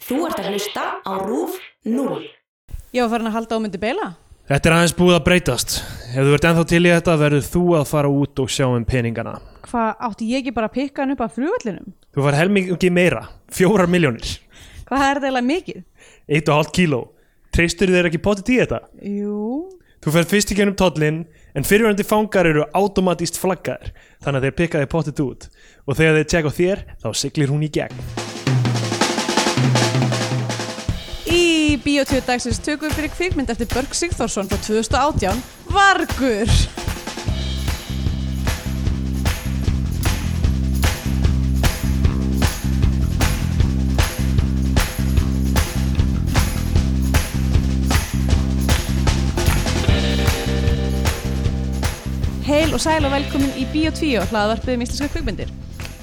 Þú ert að hlusta á RÚF 0. Ég var farin að halda á myndi beila. Þetta er aðeins búið að breytast. Ef þú ert ennþá til í þetta verður þú að fara út og sjá um peningana. Hvað átti ég ekki bara að pikka hann upp af flugvöllinum? Þú far helmingi meira, fjórar miljónir, Hvað er þetta eiginlega mikið? eitt og hálft kíló. Treystur þér ekki potið í þetta? Jú, Þú ferð fyrst í gennum tollin en fyrirverandi fangar eru automatíst flaggaðir þannig að þeir pikka þeir potið út og þegar þeir tjekka á þér þá siglir hún í gegn. í Bíotvíu dagsins tökum við fyrir kvikmynd eftir Börg Sigþórsson frá 2018, Vargur. Heil og sæl og velkomin í Bíotvíu, hlaðvarpið um íslenska kvikmyndir.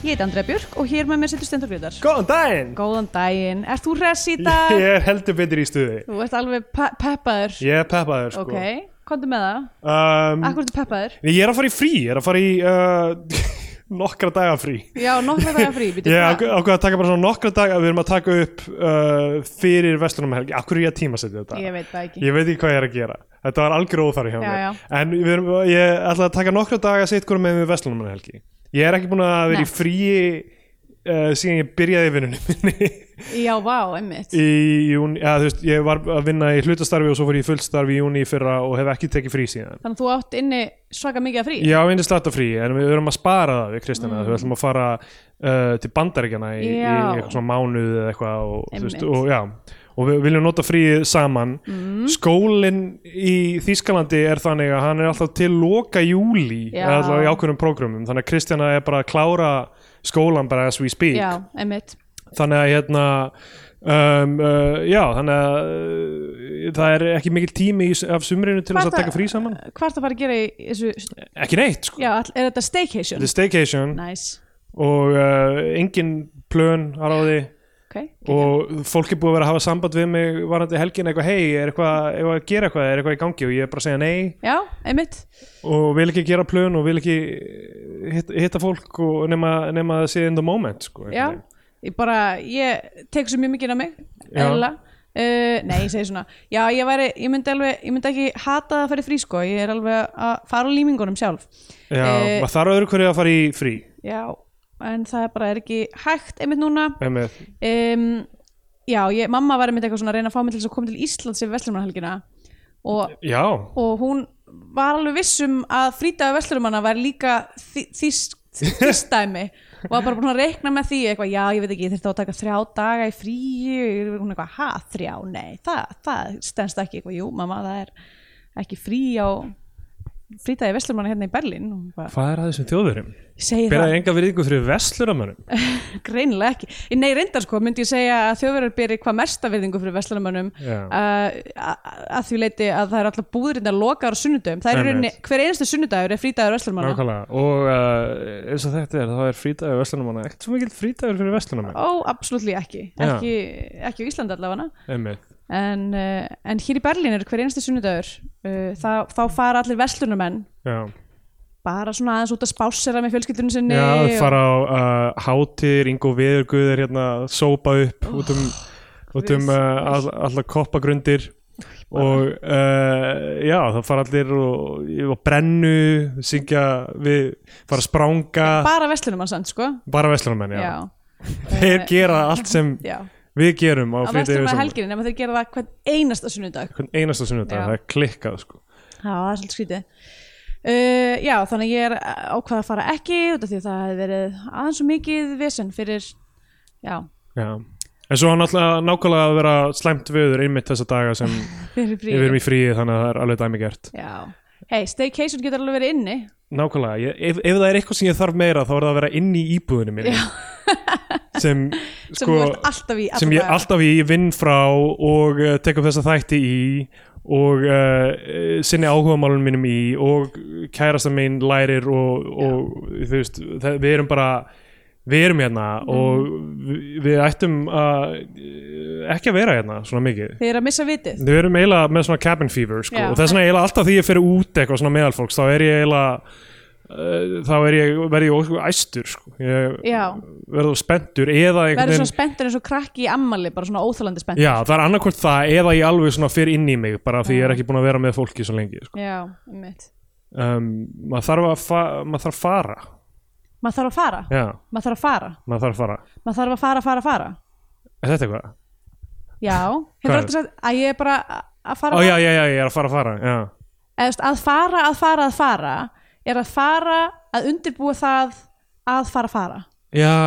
Ég heit Andrea Björk og hér með mér sittur Stendur Grétar. Góðan daginn! Góðan daginn, ert þú hress í dag? Ég er heldur betur í stuði. Þú ert alveg pe peppaður Ég er peppaður sko. Ok, komdu með það Um, Akkur ertu peppaður? ég er að fara í frí, ég er að fara í uh, nokkra daga frí. Já, nokkra dagar frí býtu, Ég hvað- ákveð ákveð að taka bara svona nokkra daga, við erum að taka upp uh, fyrir vestunum helgi. Akkur er ég að tímasetja þetta? Ég veit það ekki Ég veit ekki hvað ég er að gera Þetta var algjör óþarri hjá Já, mér já. En við erum, ég ætla að taka nokkra daga sitt hverju með við Vestlunum helgi Ég er ekki búin að vera Nei. í fríi uh, síðan ég byrjaði í vinnunni minni Já, vá, einmitt í júni, eða þú veist, ég var að vinna í hlutastarfi og svo fór ég í fullstarfi í júni í fyrra og hef ekki tekið frí síðan Þannig að þú átt inni svaka mikið af frí Já, vinni slata frí, en við erum að spara það við Kristina, við ætlum að fara uh, til bandaríkjana í, í Mm. Já. eitthvað svona mánuð eða eitthvað og, þú Einmitt. veist, Mm. og, já, og við viljum nota fríið saman Skólinn í Þýskalandi er þannig að hann er alltaf til loka júli Já. alltaf í ákveðnum prógrumum, þannig að Kristjana er bara að klára skólan bara as we speak Já, einmitt þannig að hérna um, uh, já, þannig að uh, það er ekki mikill tími í, af sumrinu til Hvað þess að það- taka frí saman Hvað ertu að fara að gera í þessu ekki neitt sko, Já, all- er þetta staycation? þetta er staycation Nice, og uh, engin plön að ráði ok og fólk er búið að vera að hafa samband við mig varandi helgin eitthvað, hei, er eitthvað, er eitthvað að gera eitthvað, er eitthvað í gangi og ég er bara að segja nei Já, einmitt og vil ekki gera plön og vil ekki eh, hitta, hitta fólk og nema, nema að sé in the moment sko, Já, einhvern veginn. ég bara, ég tek svo mjög mikið af mig Já. eðla Uh, nei, ég segi svona Já, ég, væri, ég, myndi alveg, ég myndi ekki hata það að fara í frí sko Ég er alveg að fara á límingunum sjálf já Eh, maður þarf öðru hverju að fara í frí Já, en það er bara er ekki hægt einmitt núna einmitt. um, Já, ég, mamma var einmitt eitthvað svona að reyna að fá mig til þess að koma til Íslands yfir Vestlumannhelgina og, já, og hún var alveg viss um að frýtaðu Vestlumanna var líka þý- þýst- þýstdæmi og var bara búin að reikna með því eitthvað, já, ég veit ekki, ég þurfti að taka þrjá daga í fríu, hún eitthvað, ha, þrjá nei, það, það stendst ekki eitthvað, jú, mamma, það er ekki frí á frýtaði Vestlumanna hérna í Berlín og hún bara, hvað er að þessum þjóðurum? segi það beraði enga virðingu fyrir vesluramönnum Greinilega ekki. Nei, reyndar sko, myndi ég segja að þjóðverðar beri hvað mesta virðingu fyrir veslanamönnum Já. að því leiti að það er alltaf búðurinnar lokaðar á sunnudöfum. Það er í Einmitt. rauninni, hver einasta sunnudagur er frítagur veslanamanna. nákvæmlega og uh, eins og þetta er, þá er frídagur vesluramönn ekkert svo mikill frídagur fyrir vesluramönn Ó, absolutt ekki. Já. ekki. Ekki á Íslandi allavega. einmitt En, uh, en hér í Berlín er hver einasta sunnudagur. Uh, þá, þá fara allir veslunarmenn Já, bara svona aðeins út að spásera með fjölskyldunum sinni. já og- fara á uh, hátir, Ingo Viðurguður hérna, sópa upp út um, út um uh, all, alla koppagrundir og uh, já, það fara allir og, og brennu, syngja við, fara að spranga Bara veslunarmann sann, sko. bara veslunarmenn, já. Já. þeir gera allt sem Já. við gerum Á á frídegi veslunarmann veslunar- helginni, nema þeir gera það hvern einasta sunnudag. hvern einasta sunnudag, Já. það er klikkað sko. Já, það er svolítið skrítið. Uh, já, þannig að ég er uh, ákvað að fara ekki út af því að það hefði verið aðeins og mikið vesen fyrir, já, já. en svo hann alltaf nákvæmlega að vera slæmt viður einmitt þessa daga sem fyrir frí. við erum í fríi þannig að það er alveg dæmigert Já, hei, staycation getur alveg verið inni. Nákvæmlega, ég, ef, ef það er eitthvað sem ég þarf meira þá er það að vera inn í íbúðinu minni sem, Sem sko, þú ert alltaf í alla sem ég daga. alltaf í vinn frá og uh, tek upp þessa þætti í og uh, sinni áhugamálunum mínum í og kærasta mín lærir og, og þú veist, það, við erum bara við erum hérna og Mhm. við, við ættum að eh, ekki að vera hérna svona mikið Þið eru að missa vitið. Við erum eiginlega með svona cabin fever sko, Já. og þess vegna eiginlega alltaf því ég fer út eitthvað svona meðalfólks þá er ég eiginlega eh, þá er ég, verð ég ósku æstur sko. ég Já. verður spenntur eða einhvern verður svona spenntur eins og krakki í ammali bara svona óþalandi spennt já, það er annarkvort það eða ég alveg svona fyrir inn í mig bara því ég er ekki búin að vera með fólki svo lengi sko. já einmitt. um, maður þarf að fa maður þarf að fara maður þarf að fara já, maður þarf að fara maður þarf að fara maður þarf að fara, fara, fara er þetta eitthvað? já, Hvað hefur er- alltaf sagt að ég er bara að fara Ó, já, já, já, ég er að fara að fara já, eða, þú veist, að fara, að fara, að fara er að fara, að undirbúa það að fara, fara já.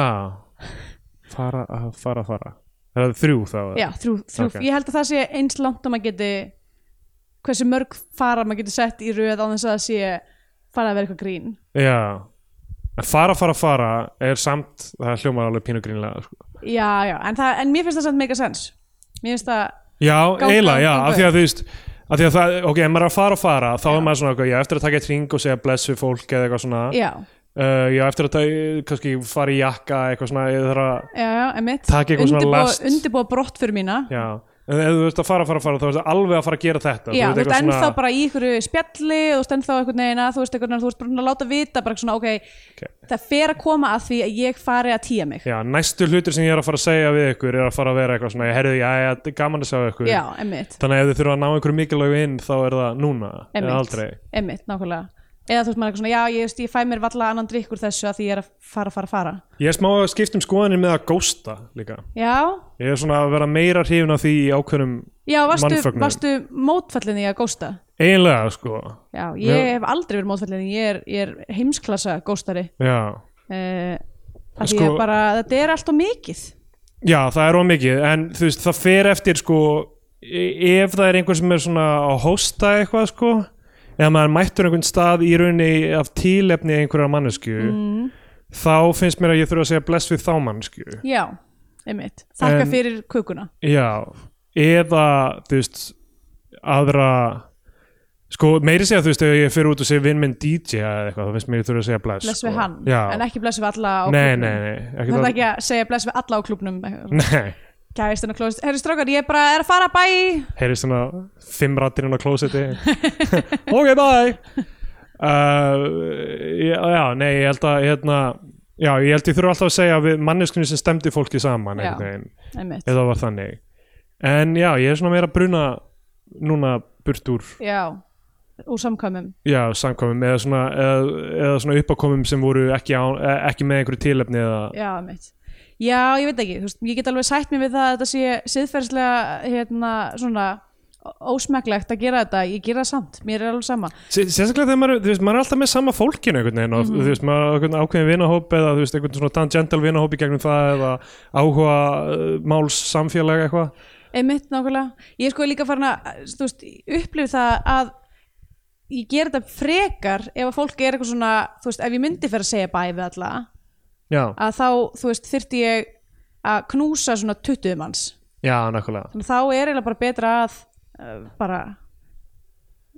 fara að fara að fara það er þrjú þá eða? já, þrjú, þrjú, Ok. ég held að það sé eins langt og maður geti hversu mörg fara maður geti sett í röð á þess að það sé fara að vera eitthvað grín Já En fara, fara, fara er samt það hljómar alveg pínugrinlega sko. já, já, en, það, en mér finnst það samt mega sens mér finnst það, Já, Ganga, eiginlega, já, ganga af því að þú veist af því að það, ok, ef maður er að fara og fara þá er maður svona, ok, ég á eftir að taka eitt ring og segja bless við fólk eða eitthvað svona já, uh, ég á eftir að taka, kannski fara í jakka eitthvað svona, ég þarf að já, já, emitt Taka eitthvað svona last. undirbúa brott fyrir mína já, en ef þú veist að fara, fara, fara þá er það alveg að fara að gera Já, þetta þú veist, ert eitthvað ennþá bara í ykkur spjalli þú ert ennþá einhvern veginn að þú veist einhvern veginn þú ert bara að láta vita bara svona, ok, Ok. það fer að koma að því að ég fari að tíja mig Já, næstu hlutur sem ég er að fara að segja við ykkur er að fara að vera eitthvað svona, ég herði, já, já, þetta er gaman að sjá ykkur Já, emmitt, Þannig að ef þið þurfa að ná einhverju mikilvægu inn þá er það núna, en emmitt aldrei Emmitt, nákvæmlega Eða þú veist maður eitthvað svona, já, ég, veist, ég fæ mér valla annan drikk úr þessu að því ég er að fara, fara, fara Ég er smá að skipta um skoðanir með að gósta líka. Já, Ég er svona að vera meira hrifin af því í ákveðnum já, varstu, Mannfögnuður. varstu mótfallin í að gósta? eiginlega, sko. Já, ég Já. hef aldrei verið mótfallin í, ég er, ég er heimsklassa góstari Já. uh, að því Sko- að bara, þetta er allt og mikið Já, það er ómikið, en þú veist, það fer eftir, sko, e- ef það er einhver sem er svona að hósta eitthvað, sko, eða maður er mættur einhvern stað í rauninni af tílefni einhverjar mannesku, þá finnst mér að ég þurfa að segja bless við þá mannesku. Já, emmitt, þakka En- fyrir kukuna Já, eða þú veist, aðra sko, meiri segja þú veist ef ég fyrir út og segja vinn minn DJ eða eitthvað, þá finnst mér ég þurfa að segja bless bless sko. við hann, Já, en ekki bless við alla á nei, klúbbnum. nei, Mm. nei, Það er það- ekki að segja bless við alla á klubnum Nei, Kæristin og klósist, herri strókar, ég bara er að fara bæ heyrðist svona fimm rattir inn á klósetti Ok, bye uh, já, já, nei, ég held að hérna, já, ég held ég þurfa alltaf að segja við manneskunni sem stemdi fólki saman Já. einhvern veginn, Einmitt. eða var þannig en já, ég er svona meira að bruna núna burt úr Já, úr samkvæmum já, samkvæmum eða svona, eða, eða svona uppakomum sem voru ekki, á, eh, ekki með einhverju tilefni eða, Já, einmitt Já, ég veit ekki, þú veist, ég get alveg sætt mér við það að þetta sé siðferðslega hérna, svona ó- ósmekklegt að gera þetta, ég gera það samt mér er alveg sama, S- sérstaklega þegar maður, þú veist, maður er alltaf með sama fólkinu einhvern veginn, Mhm. mm þú veist, maður er einhvern ákveðin vinahóp eða þú veist, einhvern svona tangential vinahóp í gegnum það eða áhuga uh, máls samfélag eitthvað einmitt nákvæmlega ég er sko líka farin að, þú veist, upplifið það að ég gera þetta frekar ef að fólk er eitthvað svona þú veist, ef ég myndi fyrir að segja bæ við alla já, að þá, þú veist, þyrfti ég að knúsa svona 20 manns já, nákvæmlega þannig að þá er eiginlega bara betra að uh, bara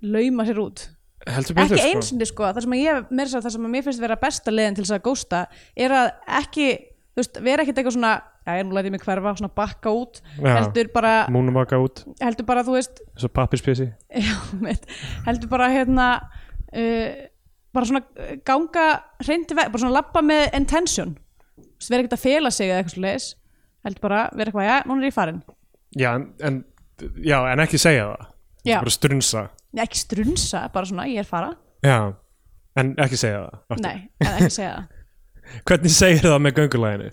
lauma sér út heldur ekki betur, sko, einsinni sko, það sem að ég mér sér það sem að mér finnst vera besta leiðin til þess að gósta er að ekki, þú veist, vera ekkert eitthvað svona, já, ég nú læti mig hverfa svona bakka út, Já. heldur bara múnum vaka út, heldur bara, þú veist þessu pappispjösi já, mitt, heldur bara hérna uh, bara svona uh, ganga reyndi veg, bara svona labba með intention Þú veist, vera ekkert að fela sig eða eitthvað svo leis heldur bara, vera eitthvað, já, núna er ég farin já, en, en, já, en ekki segja það Já. bara strunsa Nei, ekki strunsa, bara svona, ég er fara já, en ekki segja það aftur. nei, en ekki segja það hvernig segir það með göngulæðinu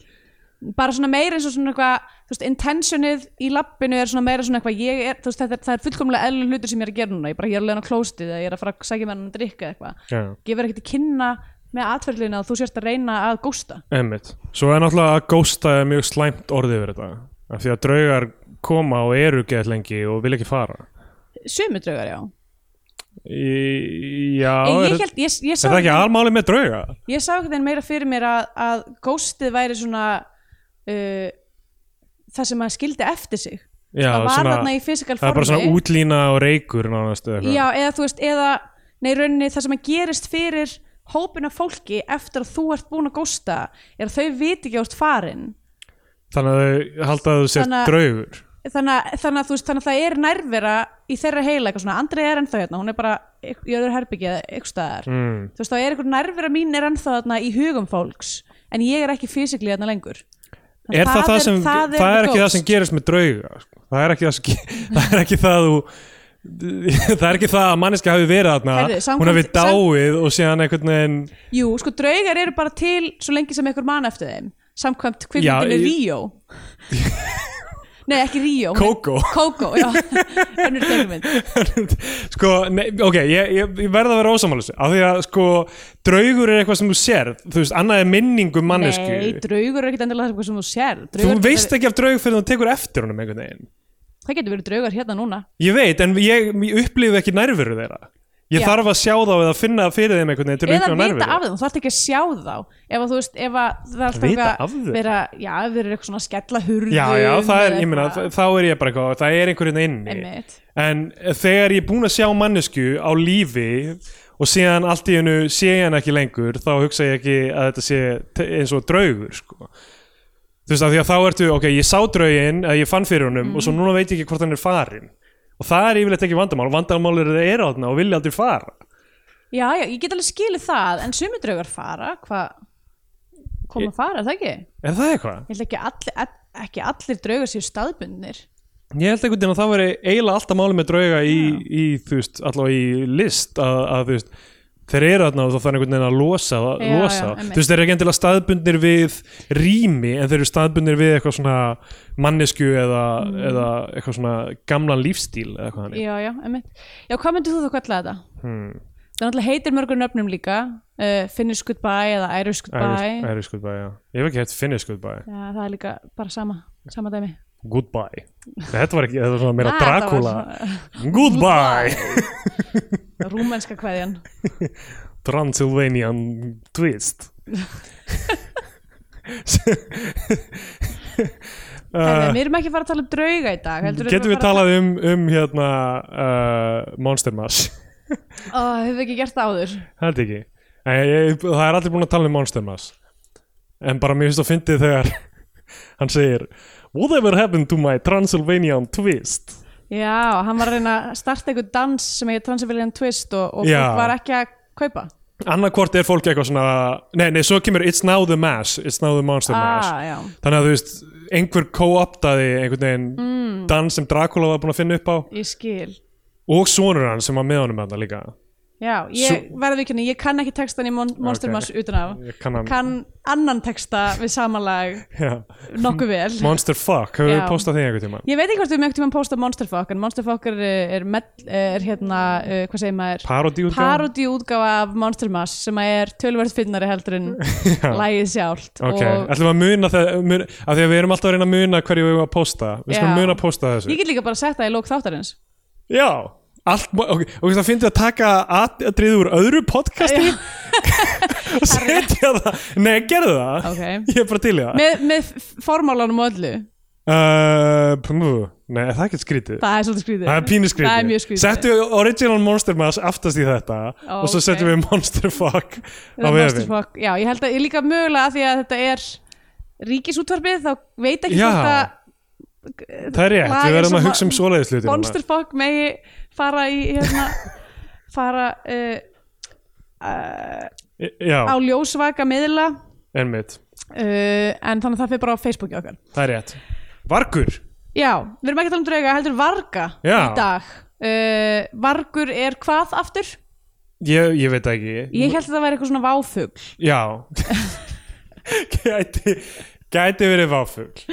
bara svona meira eins og svona eitthvað þú veist, intentionið í lappinu er svona meira svona eitthvað ég er, þú veist, þetta er, það er fullkomlega eðlum hlutur sem ég er að gera núna, ég bara ég er alveg að klósti eða ég er að fara að sækja með hann að drikka eitthvað já, gefur ekkert í kynna með atferðlina að þú sérst að reyna að gósta Einmitt. Svo er náttúrulega að gósta er mjög slæmt orðið yfir þetta. Af því að draugar koma og eru geðt lengi og vil ekki fara. sömudraugar, já, Í, já, en er, ég held, ég, ég er sá um- það ekki almáli með drauga? ég sá ekkert einn meira fyrir mér að, að góstið væri svona uh, það sem maður skildi eftir sig Já, það var svona- þarna í physical Það er bara formi. svona útlína og reykur nánast. eða eitthvað. Já, eða þú veist, eða nei, í rauninni það sem að gerist fyrir hópin af fólki eftir að þú ert búin að gósta er að þau viti ekki ást farin Þannig að þau halda að þú sért Þannig að- draugur. þannig, að- þannig, að, þú veist, þannig að það er nærvera í þeirra heila eitthvað svona, Andrei er ennþá hérna hún er bara í í öðru herbyggið eitthvað staðar mm. þú veist þá er eitthvað nærvera mín er ennþá þarna í hugum fólks en ég er ekki fysikli þarna lengur Þannig er það, það, er- sem, það, er, the ekki það sem ghost. gerist með drauga sko. það er ekki það sem, það er ekki það þú það er ekki það að manneska hafi verið þarna Heyrðu, samkvæmt- hún hafi sam- dáið og síðan einhvern veginn Jú, sko draugar eru bara til svo lengi sem einhver mann eftir þeim samkvæmt kvikmyndinu Já, ég- Ríó Nei, ekki Ríó Coco Kókó, já Önnur teiknumynd sko, nei, ok, ég, ég, ég verða að vera ósamálusi af því að sko, draugur er eitthvað sem þú sér, þú veist, annað er minningu Nei, mannesku, draugur er ekkit endilega eitthvað sem þú sér þú draugar veist ekki af draug fyrir þú tekur eftir honum einhvern veginn Það getur verið draugar hérna núna ég veit, en ég, ég upplifi ekki nærveru þeirra ég Já. þarf að sjá þá eða finna fyrir þeim einhvern veginn til að eða upplifa vita nærveru af þeim, þú þarf ekki að sjá þá ef að þú veist, ef að það er alltaf Vita eitthvað af þeim? vera, já, ef þeir eru eitthvað svona skella hurðum já, já, það er, eða ég meina, eitthvað. þa- þá er ég bara eitthvað það er einhverjum inni Einmitt. en þegar ég er búin að sjá mannesku á lífi og síðan allt í hennu sé ég hann ekki lengur þá hugsa ég ekki að þetta sé te- eins og draugur sko. þú veist, af því að þá ertu, ok, ég sá draugin að ég fann fyrir honum og svo núna veit ég ekki hvort hann er farin og það er yfirleitt ekki vandamál vandamál er að það er á þarna og vilja aldrei fara já, já, ég get alveg skilið það en sumi draugar fara, hvað koma að fara, er það ekki? er það eitthvað? Ég held ekki allir, all- ekki allir draugar séu staðbundnir Ég held einhvern veginn að það veri eiginlega alltaf máli með drauga í, í þú veist, allavega í list að, að þú veist, þeir eru þarna og þá þarf einhvern veginn að losa, já, Já, losa. já, einmitt. þú veist, þeir eru ekki endilega staðbundnir við rými en þeir eru staðbundnir við eitthvað svona mannesku eða, eða eitthvað svona gamlan lífstíl eða eitthvað þannig. já, já, einmitt. Já, hvað myndir þú þá kalla þetta? Hmm. Það náttúrulega heitir mörgur nöfnum líka uh, Finnish Goodbye eða Irish Goodbye Irish, Irish goodbye, já. Ég hef ekki hægt Finnish goodbye. Já, það er líka bara sama, sama dæmi Goodbye. Þetta var ekki, þetta var svona meira Ah, það var Dracula. svona- Goodbye. Rúmenska kveðjan Transylvanian twist. Herðu, við erum ekki að fara að tala um drauga í dag heldur Ah. Getum við að fara talað um, um hérna uh, Monster Mash? að tala Ó, hefur við ekki gert það áður Held ekki. Æ, ég, það er allir búin að tala um Monster Mash. En bara mér finnst það fyndið þegar hann segir Whatever happened to my Transylvanian twist? Já, hann var að reyna að starta einhver dans sem heitir Transylvanian Twist og, og Já. fólk var ekki að kaupa Annarkvort er fólk eitthvað svona Nei, nei, svo kemur It's now the mash It's now the monster mash ah, já. Mm. Þannig að þú veist, einhver co-optaði einhvern veginn dans sem Dracula var búin að finna upp á Ég skil og sonur hann sem var með honum hann líka Já, ég verði ekki henni, ég kann ekki textan í Mon Monster Ok. Mash utan af Ég kann hann- Kann annan texta við samanlag Já. nokkuð vel Monster Fuck, hefur við Já. postað því einhvern tíma Ég veit ekki hvort við mögum tíma að posta Monsterfuck en Monsterfuck er, er, mell- er hérna, uh, hvað segir maður Parodíútgáfa? parodi útgáfa af Monster Mash sem að er tölvörð finnari heldur en lægið sjálft Ok, og ætlum við að muna það muna, af því að við erum alltaf að reyna að muna hverju við erum að posta við skulum Já. muna að posta þessu ég get líka bara að setja í lók þáttarins Já, allt, má- ok, og það finnst við að taka atrið úr öðru podcasti og setja það Nei, gerðu það, Ok. ég er bara til í það með, með formálanum og öllu uh, pmú, Nei, er það er ekkert skrítið það er svolítið skrítið Það er pínu skrítið. það er mjög skrítið Settu original Monster Mash aftast í þetta Ó, og svo ok. setjum við Monster Fuck Það á er vefinn. Monsterfuck, já ég held að ég líka mögulega af því að þetta er ríkisútvarpið þá veit ekki Já. hvort að Það er rétt, Laga við verðum sem að hugsa um mon- svoleiðis hluti núna. Monsterfuck megi fara í hérna, fara uh, uh, Í- Já, á ljósvaka miðla uh, einmitt, en þannig að það fyrir bara á Facebooki okkar það er rétt. Vargur, já, við erum ekki að tala um drauga, heldur varga Já. í dag uh, vargur er hvað aftur? ég, ég veit það ekki. ég held að það væri eitthvað svona váfugl Já, gæti, gæti verið váfugl.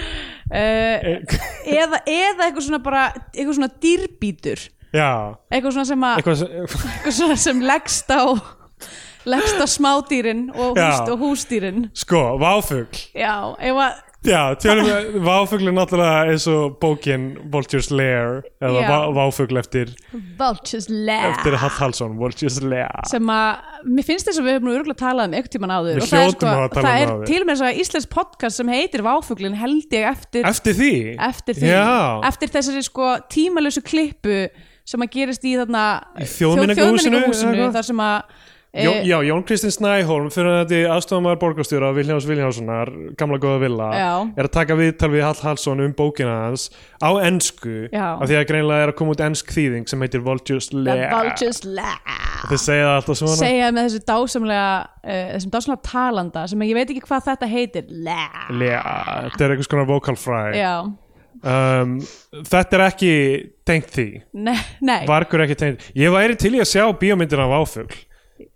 E, uh, eða, eða eitthvað svona bara eitthvað svona dýrbítur Já, eitthvað svona sem, að, eitthvað sem, eitthvað svona sem leggst á leggst á smádýrin og, Já. húst, og húsdýrin sko, váfugl. já, ef að Já, tjölum við, váfugl er náttúrulega eins og bókin Vulture's Lair, eða Já. vá, váfugl eftir, Vultures Lair eftir Hall Hallsson, Vulture's Lair. sem að, mér finnst þess að við höfum nú örgulega talað um einhvern tíman áður Við og það er, sko- hljótum að hafa talað það um er áður. til og með svo að íslensk podcast sem heitir Váfuglin held ég eftir, Eftir því? eftir því Já, eftir þessari sko tímalösu klippu sem að gerist í þarna Í Þjóðmenningarhúsinu, Þjóðmenningarhúsinu, eða hvað? þar sem að Jó, Eh, já, Jón Kristinn Snæholm fyrir þetta aðstofamæður borgarstjóra Viljáns Viljánssonar, gamla góða villa Já. er að taka viðtal við Hall Hallsson um bókina hans á ensku Já. af því að greinlega er að koma út ensk þýðing sem heitir Voltjus Le The vultures laugh Þið segja það alltaf svona segja með þessu dásamlega uh, þessum dásamlega talanda sem ég veit ekki hvað þetta heitir laugh Le Þetta er einhvers konar vocal fry já, um, Þetta er ekki tengt því nei, nei. Vargur ekki tengt Ég væri til í að sjá bíómyndina af áfugl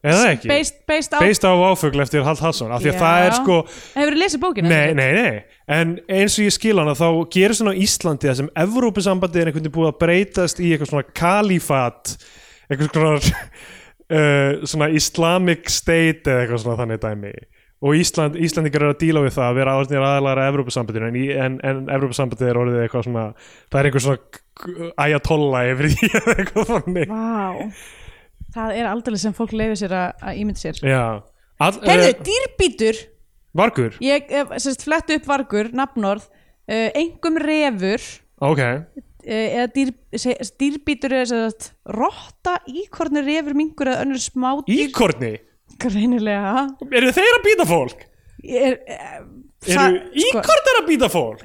Eða ekki? based, based á Based á áfugl eftir Hall Hallsson af því að Já. það er sko hefur þú lesið bókina? Nei, nei, nei, en eins og ég skil hana þá gerur svona á Íslandi það sem Evrópusambandi er einhvern veginn búið að breytast í eitthvað svona kalifat eitthvað svona uh, svona Islamic state eða eitthvað svona þannig dæmi og Ísland, Íslandingar eru að díla við það að vera orðinir aðalara Evrópusambandinu en, í- en, en Evrópusambandi er orðið eitthvað svona það er einhver svona ajatolla yfir því eða eitthvað þannig Vá. það er aldrei sem fólk leiður sér að, að ímynda sér Já, All, eh, heyrðu, dýrbítur Vargur, ég eh, sem sagt, flett upp vargur, nafnorð uh, engum refur ok eh, eða dýr, se, dýrbítur er sem sagt, rotta, íkornir, refur, mingur eða önnur smádýr Íkorni, greinilega eru þeir að býta fólk? Ég er, eh, það- sko- Eru íkortar að býta fólk?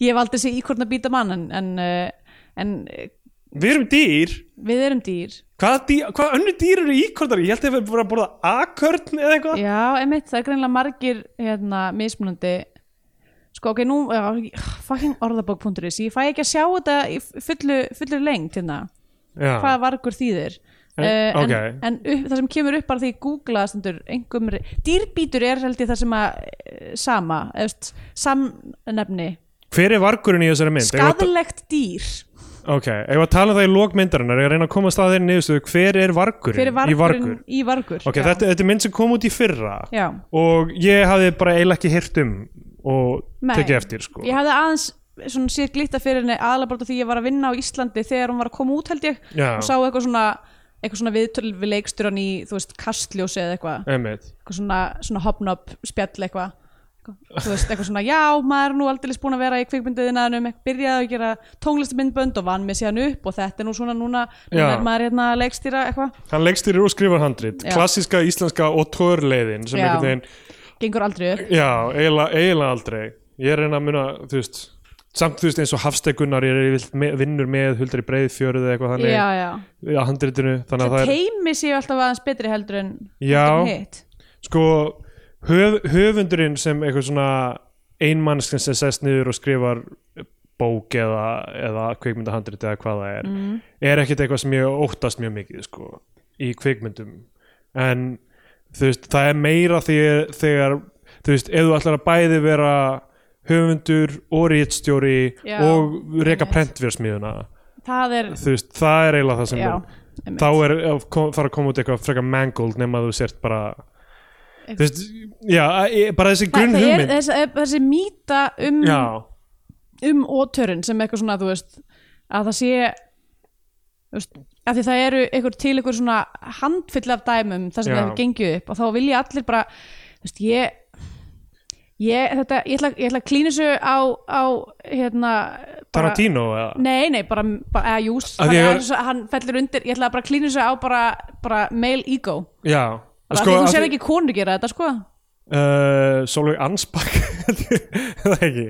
ég hef aldrei séð íkorn að býta mann en, en, eh, en eh, Við erum dýr við erum dýr Hvað, dýr, hvað önnur dýr eru íkortar? Ég held að við vorum að borða akörn eða eitthvað já, emitt, það er greinilega margir hérna, mismunandi sko, ok, nú, já, fucking orðabók.is ég fæ ekki að sjá þetta í fullu, fullu lengt hérna, Já, hvað vargur þýðir En- Eh, ok. en, en upp, það sem kemur upp bara því ég googla stendur, engum, re- dýrbítur er held ég það sem að eh, sama, eftir, samnefni Hver er vargurinn í þessari mynd? Eigum við að- skadalegt dýr Ok, ef að tala um það í lókmyndarinnar Ég er að reyna að komast að þeirri niðurstöðu Hver er vargurinn, fyrir vargurinn í vargur? í vargur Ok, já. þetta, þetta er mynd sem kom út í fyrra Já. Og ég hafði bara eiginlega ekki hirt um Og Nei. tekið eftir sko ég hafði aðeins svona sér glitta fyrir henni aðalega bara því ég var að vinna á Íslandi þegar hún var að koma út held ég Já. og sá eitthvað svona, eitthvað svona viðtöl við leikstjóran í, þú veist, kastljósi eða eitthvað Einmitt. eitthvað svona, svona hopnob spjall eitthvað Eitthvað- þú veist, eitthvað svona, já, maður er nú aldrei búin að vera í kvikmyndiðinaðinum, byrjaði að gera tónlistamindbönd og vann mig síðan upp og þetta er nú svona núna, núna Já. er maður hérna að leikstýra eitthvað, Hann leikstýrir og skrifar handrit Já. Klassíska íslenska og törleiðin Sem Já. einhvern veginn gengur aldrei upp Já, eiginlega, eiginlega aldrei Ég er að reyna að muna, þú veist Samt þú veist eins og hafstegunar Ég er yfirleitt me, vinnur með huldri breiðfjörð eða eitthvað þannig já, já, Að handritinu, þannig að það það er teimi séu alltaf aðeins betri heldur en Já. heldur en hitt Sko, höf, höfundurinn sem eitthvað svona Einmannskinn sem sest niður og skrifar bók eða, eða kvikmyndahandrit eða hvað það er Mm. er ekkert eitthvað sem ég óttast mjög mikið sko, í kvikmyndum en þú veist, það er meira þegar, þegar þú veist, ef þú ætlar að bæði vera höfundur og réttstjóri Já, og reka einmitt. prentvérsmíðuna það er þú veist, það er eiginlega það sem Já, er, einmitt. þá er að kom- fara að koma út eitthvað frekar mangled nema þú sért bara þú veist, já, e- bara þessi Þa, grunn það er hugmynd þessi, þessi mýta um, já, um ótörun sem eitthvað svona, þú veist, að það sé þú veist, að því það eru einhver til einhver svona handfull af dæmum þar sem Já. það hefur gengið upp og þá vilja allir bara, þú veist, ég ég, þetta, ég ætla, ég ætla að klínu þessu á, á hérna, bara Tarantino eða Nei, nei, bara, bara eða jús Að því ég- hann fellur undir, ég ætla að bara klínu þessu á bara, bara male ego já, bara sko, því þú sér ekki konur gera þetta, sko uh, Solveig Ansbak það ekki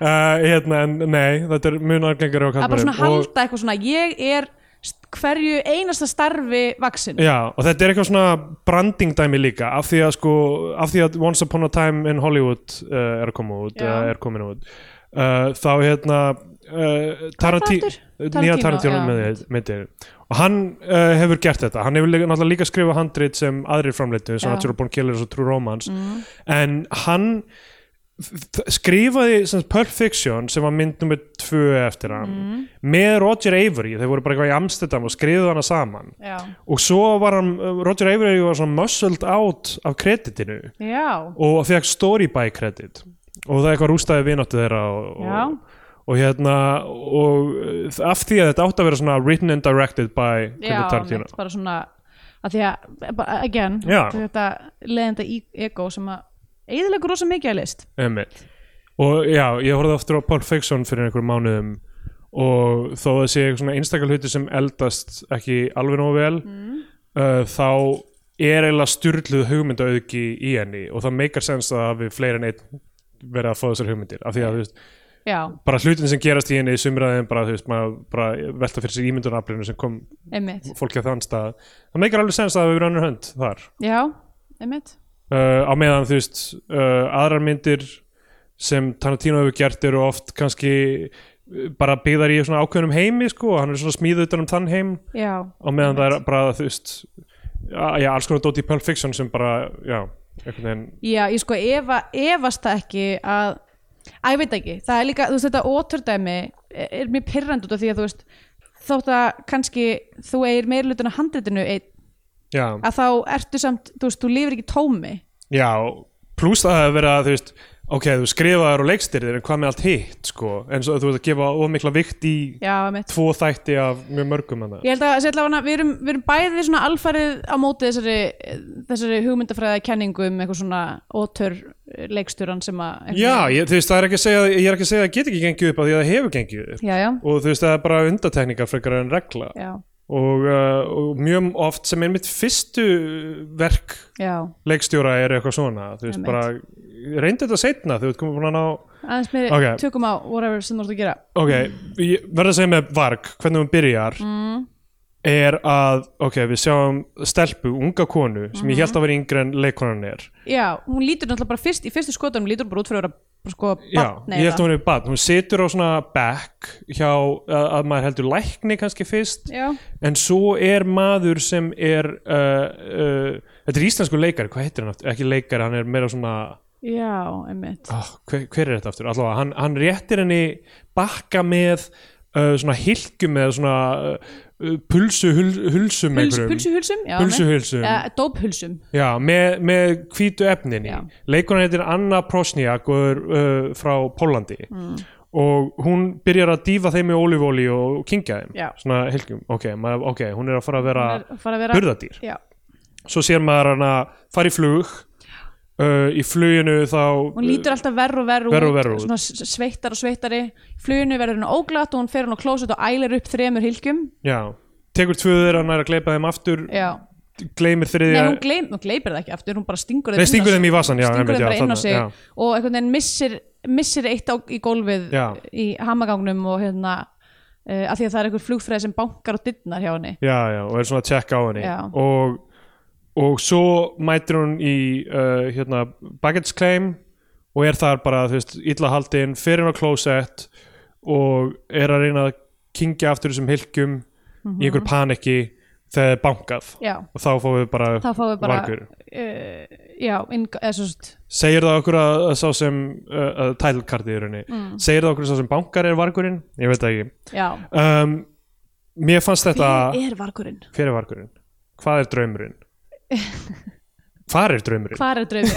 uh, hérna, en nei, þetta er munargengur að bara svona halda eitthvað svona ég er st- hverju einasta starfi vaksin Já, og þetta er eitthvað svona branding dæmi líka af því að sko, af því að Once Upon a Time in Hollywood uh, er að koma út Já. uh, er komin út uh, þá hérna uh, Taranti, aftur? nýja Tarantino, Tarantino myndi, myndi. og hann uh, hefur gert þetta hann hefur líka, náttúrulega líka skrifað handrit sem aðrir Já. framleitu, Mm. svona Natural Born Killers og True Romance en hann þ- skrifaði sem sagt, Pulp Fiction sem var mynd nummer tvö eftir hann Mm. með Roger Avery, þeir voru bara eitthvað í Amsterdam og skrifuðu hana saman já, og svo var hann, eh, Roger Avery var svona muscled out af kreditinu já. og fekk story by kredit og það eitthvað rústaði vináttu þeirra og, Já. og, og hérna og eh, af því að þetta átti að vera svona written and directed by já Quentin Tarantino mitt, bara svona að því að, bara, eh, again Já. þetta leðenda í- ego sem að eðilegur rosa mikið að list Einmitt. og já, ég horfði aftur á Pulp Fiction fyrir einhverjum mánuðum og þó að sé eitthvað svona einstakal hluti sem eldast ekki alveg nógu vel uh, þá er eiginlega styrluð hugmyndaauðgi í henni og það meikar sens að hafi fleiri en einn verið að fá þessar hugmyndir af því að þú veist, já, bara hlutin sem gerast í henni í sumraðin bara, þú veist, maður bara velta fyrir sér ímyndunaflinu sem kom einmitt fólki að þann stað það meikar alveg sens að það hefur verið annar hönd þar já, einmitt, uh, á meðan þú veist uh, aðrar myndir sem Tarantino hefur gert eru oft kannski uh, bara byggðar í svona ákveðnum heimi sko, og hann er svona smíð utan um þann heim já á meðan það er bara þú veist já, já, alls konar dót í Pulp Fiction sem bara, já, einhvern veginn já, ég sko efa, efast það ekki að, að ég veit það ekki það er líka, þú veist, þetta óturdæmi er, er mér pirrand út af því að þú veist þótt að kannski þú eigir meirlutin að handritinu einn, já, að þá ertu samt, þú veist, þú lifir ekki tómi já, pluss það hefur verið að þú veist ok, þú skrifaður og leikstir þér en hvað með allt hitt sko, en svo þú veist að gefa of mikla vikt í já, einmitt tvo þætti af mjög mörgum hana. Ég held að sérlega hana, við erum, við erum bæði svona alfarið á móti þessari, þessari hugmyndafræða kenningu um eitthvað svona ótör leikstjóran sem að Já, ég, þú veist, það er ekki að segja ég er ekki að segja að það get ekki gengið upp af því að það hefur gengið upp já, já, og þú veist, það er bara undatekningar frekar en regla já, og, uh, og mjög oft sem einmitt fyrstu verk já leikstjóra er eitthvað svona þú veist, Einmitt. bara reyndu þetta seinna þú veist, komum búin að ná aðeins meiri Ok. tökum á whatever sem þú ert að gera ok, ég verður að segja með Varg hvernig hún byrjar mm, er að, ok, við sjáum stelpu, unga konu, sem ég Mhm. held að vera yngri en leikkonan er já, hún lítur náttúrulega bara fyrst í fyrstu skotunum lítur hún bara út fyrir að vera sko Já, barn ég held að eða hún er barn, hún situr á svona back hjá að, að maður heldur lækni kannski fyrst já, en svo er maður sem er uh, uh, þetta er íslensku leikari, hvað heitir hann aftur ekki leikari, hann er meira svona já, einmitt oh, hver, hver er þetta aftur, allavega hann, hann réttir henni bakka með uh, svona hilkum eða svona uh, pulsu hul, hulsum Puls, einhverjum. pulsuhulsum, já, pulsu hulsum ja, dóphulsum já, með, með hvítu efninni Já. leikunan heitir Anna Prosniak og er uh, frá Pólandi Mm. og hún byrjar að dýfa þeim í ólífóli og kingja þeim Já. svona hilkum, ok, maður, ok, hún er að fara að vera Hún er- fara að vera burðadýr já, svo sér maður hann að fara í flug uh, í fluginu þá hún lítur alltaf verru og verru Verr og verr út. út, svona s- sveittar og sveittari fluginu verður hún óglatt og hún fer hún á klósett og ælir upp þremur hilkjum uh, já, tekur tvöður hann er að gleipa þeim aftur já, gleymir nei þriðja hún, gleym, hún gleipir það ekki aftur hún bara stingur þeim inn Nei, á stingur sig. þeim í vasann, já, stingur einmitt, þeim já, bara inn á þarna, sig já. og einhvern veginn missir, missir eitt á, í gólfið Já. í hamagangnum og hérna uh, að því að það er einhver flugfræði sem bankar og dittnar hjá henni já, já, og er svona að tjekka á henni Já. og, og svo mætir hún í uh, hérna, baggage claim og er þar bara, þú veist, illa haldin fyrir hann á klósett og er að reyna að kingja aftur þessum hilkjum í einhver panikki þegar það er bankað Mhm. já, og þá fáum við bara þá fáum við bara vargur. uh, já, inn, eða svo st, segir það okkur að, að sá sem uh, að tælkartið í rauninni Mm. segir það okkur að sá sem bankar er vargurinn ég veit það ekki já, um, mér fannst þetta hver er vargurinn? hver er vargurinn? hvað er draumurinn? hvað er draumurinn? hvað er draumurinn?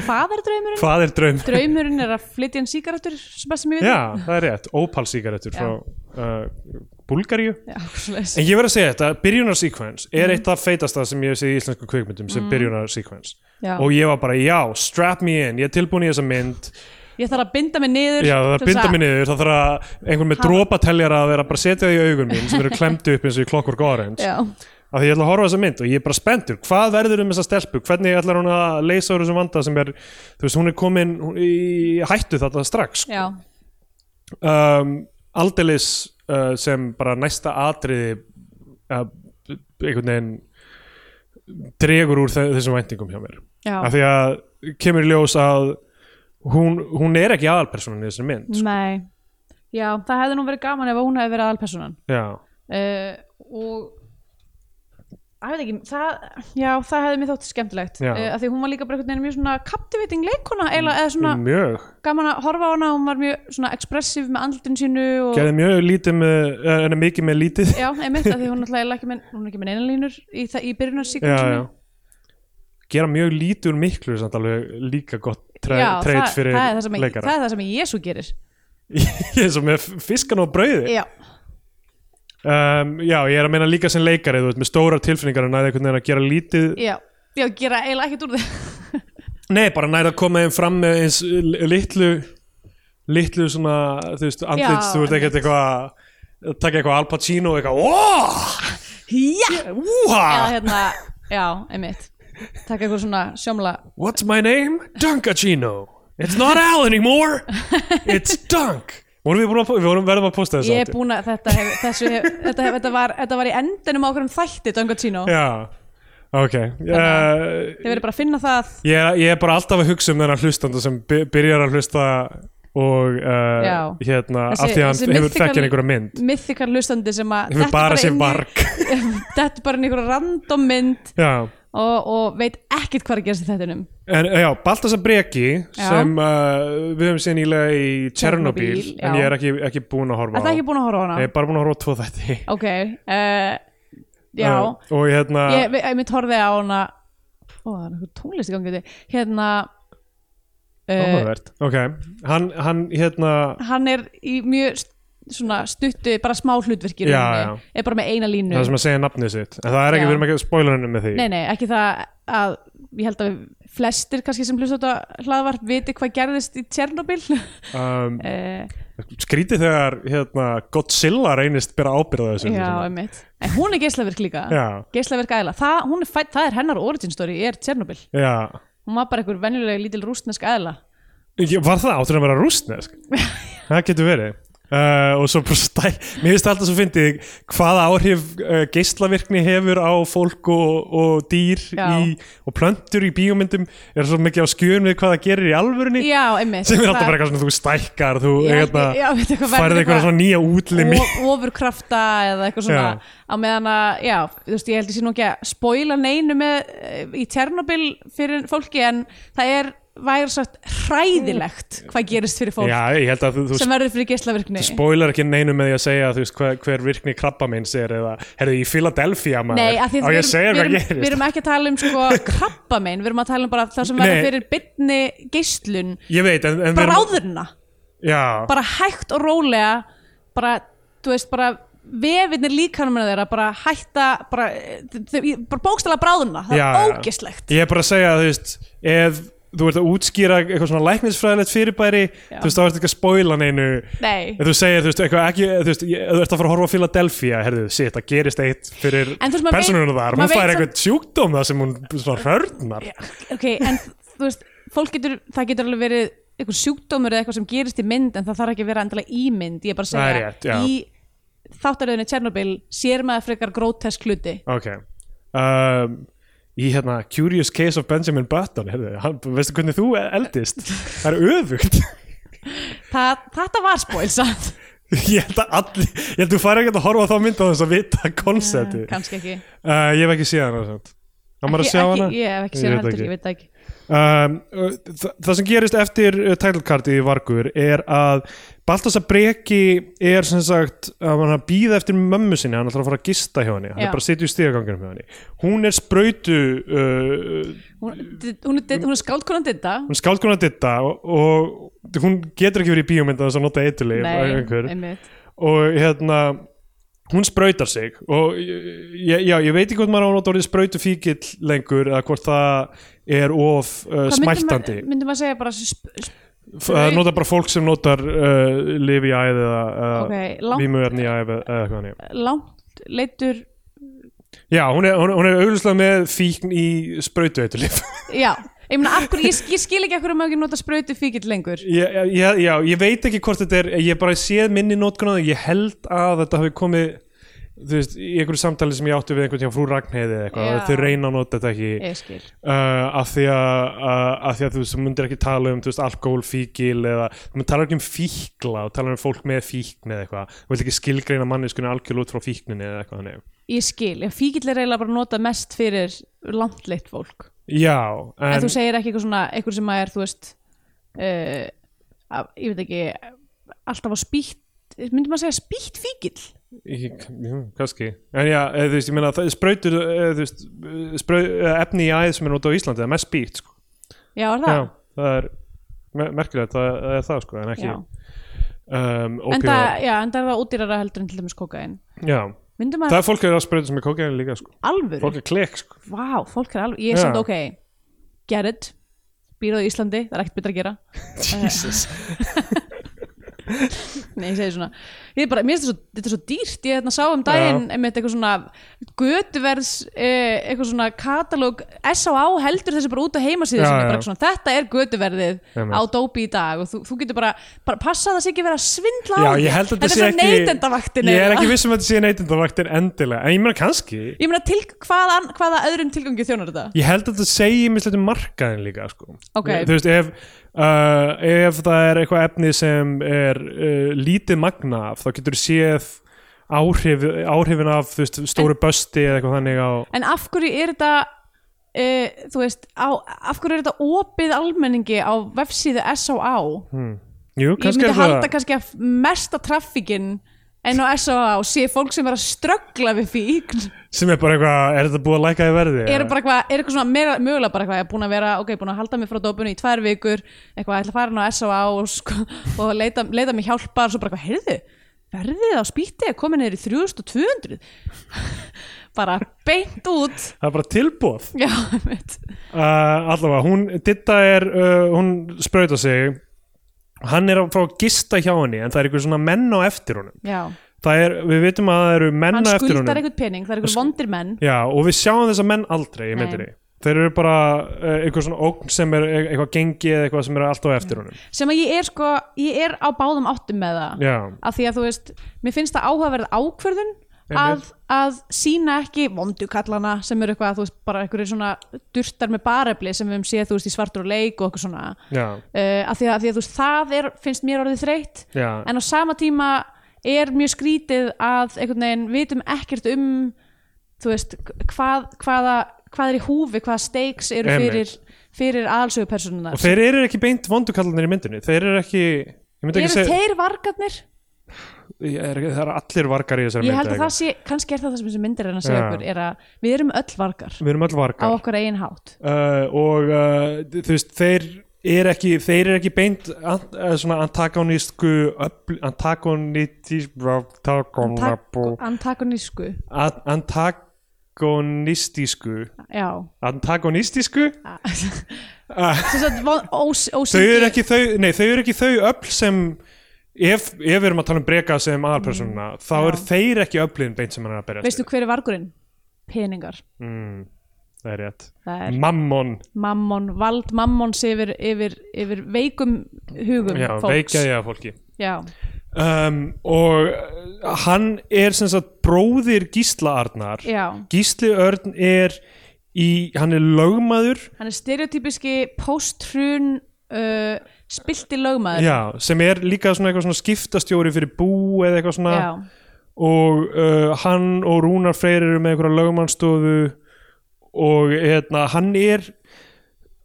hvað er draumurinn? hvað er draumurinn? draumurinn er að flytja inn sígarettur sem best sem ég veit já, það er rétt, ópalsíkaretur frá uh, Búlgaríu Já, svoleiðis. en ég verð að segja þetta, byrjunarsequence Mhm. er eitt af feitasta sem ég hef séð í íslensku kvikmyndum sem byrjunarsequence Já. og ég var bara, já, strap me in ég er tilbúin í þessa mynd ég þarf að binda mig niður Já, það þarf til að þess binda mig niður, það þarf að einhvern með drópateljar að vera bara að setja því í augun mín sem eru klemdu upp eins og í Clockwork Orange já, af því ég ætla að horfa á þessa mynd og ég er bara spenntur hvað verður um þessa stelpu, hvernig ætlar hún að leysa úr þessum vanda sem er, þú veist, hún er komin hún- í hættu þetta strax já, um, aldeilis uh, sem bara næsta atriði uh, einhvern veginn dregur úr þe- þessum væntingum hjá mér já. af því að kemur í ljós að hún, hún er ekki aðalpersonan í þessari mynd sko. Nei. já, það hefði nú verið gaman ef hún hefði verið aðalpersonan Já. uh, og Æ, ég veit ekki, það, já, það hefði mér þótt skemmtilegt Já. Mm, uh, af því hún var líka bara einhvern veginn mjög svona captivating leikona eða, eða svona mjög, gaman að horfa á hana hún var mjög svona expressiv með andlutin sínu og, gerði mjög lítið með en mikið með lítið já, einmitt af því hún náttúrulega er ekki með, hún er ekki með neinanlínur í, þa- í byrjunarsíkum já, já. gera mjög lítið úr miklu er samt alveg líka gott tre- Já, treyt það, fyrir það, er það, sem, það leikara er það sem Jésu gerir eins og með fiskan og brauði Já, um, já, ég er að meina líka sem leikari þú veist, með stórar tilfinningar að næða einhvern veginn að gera lítið já, já, gera eiginlega ekkert úr þið nei, bara næða að koma þeim fram með eins litlu litlu svona, þú veist, andlits Já, þú veist ekkert eitthvað að taka eitthvað Al Pacino og eitthvað, óóóó já, eða Wúha! hérna, já, einmitt taka eitthvað svona sjómla What's my name? Dunkachino It's not Al anymore It's Dunk Vorum við búin að, po- við vorum verðum að posta þessu ég er Addi. búin að þetta hef, þessu hef, þetta, hef, þetta, var, þetta var í endinum á okkur um þætti Dungatino, Já, ok uh, þið verður bara að finna það ég, er- ég er bara alltaf að hugsa um þennan hlustanda sem by- byrjar að hlusta og Já. uh, hérna Þessi- af því að þessi hann hefur mythical- þekkjan einhverja mynd mythikar hlustandi sem að hefur dettur bara sér inn í- varg þetta er bara einhverja random mynd Já og, og veit ekkit hvað er að gerast í þettinum En eh, já, Baltasar Breki Já. sem uh, við höfum séð nýlega í Tjernobyl, Tjernobyl, en já. ég er ekki, ekki búin að horfa Er það ekki búin að horfa á hana? Ég er bara búin að horfa á tvo þætti Ok, uh, já Uh, og hérna, Ég við- einmitt horfið á hana Ó, það er einhver tónlist í gangi þetta Hérna uh, áhugavert ok, hann, hann hérna Hann er í mjög st- svona stuttu, bara smá hlutverki í Já, rauninni. Er bara með eina línu það er sem að segja nafnið sitt en það er ekki, Já. við erum ekki að spoila henni með því Nei, nei, ekki það að Ég held að flestir kannski sem hlusta á þetta hlaðvarp viti hvað gerðist í Tjernobyl um, uh, skrítið þegar hérna, Godzilla reynist bera ábyrða þessu Já, einmitt En hún er geislavirk líka Já. Geislavirk æla það, hún er fædd- það er hennar origin story, er Tjernobyl já. Hún var bara einhver venjulega lítil rústnesk æla Ég, var það áttur að vera rústnesk það getur verið Uh, og svo bara stæ, mér finnst alltaf svo fyndið hvaða áhrif uh, geislavirkni hefur á fólk og, og dýr Já. í, og plöntur í bíómyndum er svo mikið á skjön við hvað það gerir í alvörunni Já, einmitt sem er alltaf Það- bara eitthvað svona þú stækkar þú Ég held- hérna, já, veit eitthvað, verður færið eitthvað eitthvað- svona nýja útlimi O- ofurkrafta eða eitthvað svona Já. á meðan að, já, þú veist, ég held ég sé nú ekki að spoila neinu með eh, í Tjernobyl fyrir fólki en það er væri sagt hræðilegt hvað gerist fyrir fólk já ég held að þú, þú sem verður fyrir geislavirkni spoilar ekki neinu með því að segja þú veist, hver, hver virkni krabba minns er eða herðu í Philadelphia maður Nei, af því á við ég að segja erum, við, þér hvað erum, gerist við erum ekki að tala um sko krabbamein, við erum að tala um bara það sem Nei. verður fyrir bytni geislun ég veit en, en við erum- bráðurna, já, bara hægt og rólega bara, þú veist, bara vefinir líkanumina þeirra bara hætta, bara, eh, þau, bara bókstala bráðurna, það Já, er já. ógeslegt ég er bara að segja þú veist, ef þú ert að útskýra eitthvað svona læknisfræðilegt fyrirbæri Já. þú veist, þá ert ekki að spoila neinu Nei. ef þú segir, þú veist, eitthvað ekki þú veist, ég- ef þú ert að fara að horfa á Philadelphia herðu, sitt, það gerist eitt fyrir En þú veist, maður persónunum veit- þar, maður hún fær veit eitthvað sjúkdóm það sem hún svona hörnar ok, en þú veist fólk getur, það getur alveg verið eitthvað sjúkdómur eða eitthvað sem gerist í mynd en það þarf ekki að vera endilega í mynd, ég er bara að Það er segja rétt, já. í þáttaröðinu Tjernobyl sér maður frekar grótesk hluti ok um, í hérna Curious Case of Benjamin Button herðu, hann, veistu hvernig þú e- eldist það er öfugt Þa, þetta var spóilsamt ég held að allir, ég held að þú fær ekki að horfa á þá mynda þess að vita konsepti Eh, kannski ekki Uh, ég hef ekki séð hana samt. Hann var að Ég- sjá ekki- hana? ég hef ekki séð veit heldur, ég veit það ekki Um, uh, þa það sem gerist eftir uh, titlekartið í Vargur er að Baltasar Breki er sem sagt að hann býða eftir mömmu sinni hann ætlar að fara að gista hjá henni hann Já. er bara að sitja í stíðaganginum hjá henni hún er sprautu uh, hún, di- hún, er, di- hún er skáldkonan ditta hún skálkunar ditta og, og hún getur ekki verið í bíómynda þess að nota eitulif einmitt og hérna hún sprautar sig og ég, já, ég veit ekki hvort maður á að nota orðið sprautu fíkil lengur eða hvort það er of uh, Hvað myndi smæltandi maður- myndi maður segja bara sp, sp, F- það nota bara fólk sem notar uh, lifi í æð eða uh, Ok, langt- vímuverni í æð eða eða eitthvað þannig langt leitur já, hún er, hún, hún er auglustlega með fíkn í sprautu eitulif já, ég, meina, af hverju, ég, sk- ég skil ekki af hverju maður ekki nota sprautu fíkild lengur ég, ég, já, ég veit ekki hvort þetta er ég bara séð minni notkun á það ég held að þetta hafi komið þú veist, í einhverju samtali sem ég átti við einhvern tíma frú Ragnheiði eða eitthvað, Já. að þau reyna að nota þetta ekki ég skil uh, af því að uh, af því að þú veist, þú myndir ekki tala um þú veist, alkoholfíkil eða þú myndir tala ekki um fíkla og tala um fólk með fíkn eða eitthvað þú vilt ekki skilgreina manneskunni algjörlega út frá fíkninni eða eitthvað þannig Ég skil, ég fíkill er eiginlega bara notað mest fyrir landleitt fólk já, en, en, þú segir ekki eitthvað svona, eitthvað sem að er þú veist uh, að, ég veit ekki alltaf á spýtt myndi maður segja spýtt fíkill ég, jú, kannski en já, eða, þú veist, ég meina það er sprautur eða, þú veist, sprau, eða, efni í æð sem er notað á Íslandi, það er mest spýtt sko. Já, er já, það? það er me- merkilegt, það, það er það sko, en ekki Já. um, enda, opíóar. já, enda er það ódýrara heldur en til dæmis kókain já, myndi það maður er fólk er að sprauta sem er kókaðin líka sko. alvöru fólk er klik sko. vá, fólk er alvöru, ég Já. er samt ok get it, býr á Íslandi, það er ekkert betra að gera Jesus Nei, ég segi svona ég er bara, mér finnst þetta svo, þetta er svo dýrt ég hérna, sá um daginn einmitt eitthvað svona götuverðs eh, eitthvað svona katalóg S.A.A. heldur þessi bara út á heimasíðu Já, sinni, já. bara eitthvað svona, þetta er götuverðið Einmitt. á dópi í dag og þú, þú getur bara, bara passa að það sé ekki verið að svindla á Já, því. ég held að þetta er þetta svo sé ekki neytendavaktin Ég er eiginlega. ekki vissum að þetta sé neytendavaktin endilega En ég meina kannski ég meina til hvaða, ann- hvaða öðrum tilgangi þjónar þetta Ég held að þetta segi mislega markaðin líka sko. Ok. Ég- Þú veist, ef, uh, ef það er eitthvað efni sem er uh, lítið magna af þá getur þú séð áhrif, áhrifin af þú veist, stóru bösti eða eitthvað þannig á en af hverju er þetta e, þú veist, á, af hverju er þetta opið almenningi á vefsíðu S.A.A. Jú, ég Hm, kannski myndi er halda það kannski að mesta traffíkin en á S.A.A. og sé fólk sem er að ströggla við fíkn sem er bara eitthvað, er þetta búið að læka í verði? eru bara eitthvað, er eitthvað svona meira, mögulega bara eitthvað, ég er búin að vera, ok, búin að halda mig frá dópunni í tvær vikur, eitthvað, ætla að fara inn á S.A.A. og, sko, og leita, leita mig hjálpar og svo bara eitthvað, heyrðu, verðið á spýti er komin neyri 3200 bara beint út Það er bara tilbúð já, einmitt. uh, allavega, hún, Ditta er uh, hún sprauta sig hann er að fá að gista hjá henni en það er eitthvað svona menn á eftir honum já Það er, við vitum að það eru menn hann á eftir skuldar honum einhvern pening, það er einhvern vondir menn Já, og við sjáum þessa menn aldrei í Nei. myndinni Þeir eru bara uh, eitthvað svona ógn sem er e- eitthvað gengi eða eitthvað sem er alltaf á eftir honum sem að ég er sko, ég er á báðum áttum með það, Já, af því að þú veist mér finnst það áhugaverð ákvörðun að, Einmitt. að sína ekki vondukallana sem eru eitthvað, þú veist, bara einhverjir svona durtar með barefli sem við um séð þú veist, í svartur og leik og eitthvað svona uh, já, af, því að, af því að þú veist, það er, finnst mér orðið þreytt já en á sama tíma er mjög skrítið að einhvern veginn vitum ekkert um þú veist, hvað, hvaða, hvað er í húfi, hvaða steiks eru fyrir, Einmitt. fyrir aðalsögupersonuna Og þeir eru ekki beint vondukallanir í myndinni Þeir eru ekki, ég myndi eru ekki segja þeir vargarnir? Ég er, Það eru allir vargar í þessari Ég myndi held að það sé, kannski er það það sem þessi myndir er að segja Já. okkur, er að við erum öll vargar Við erum öll á vargar okkar eigin hátt uh, og uh, þú veist þeir er ekki, þeir eru ekki beint an, eh, svona antagonísku öfl- antagonítís antagon- Antak- antagonísku an- antagonistísku já antagonistísku þess að von- ós- þau eru ósýndi ekki þau, nei þau eru ekki þau öll sem ef, ef við erum að tala um breka sem aðalpersonuna, þá Mm. Já. eru þeir ekki öflin beint sem hann er að berjast veistu hver er vargurinn? peningar við. mm, það er rétt það er mammon, mammon, vald mammons yfir, yfir, yður veikum hugum já, fólks veikja ég að fólki já, um, og uh, hann er sem sagt bróðir Gísla Arnar já, Gísli Örn er í, hann er lögmaður hann er stereotypiski post-hrun uh, spilti lögmaður já, sem er líka svona eitthvað svona skiptastjóri fyrir bú eða eitthvað svona já. og uh, hann og Rúnar Freyr eru með einhverja lögmanstofu og hérna, hann er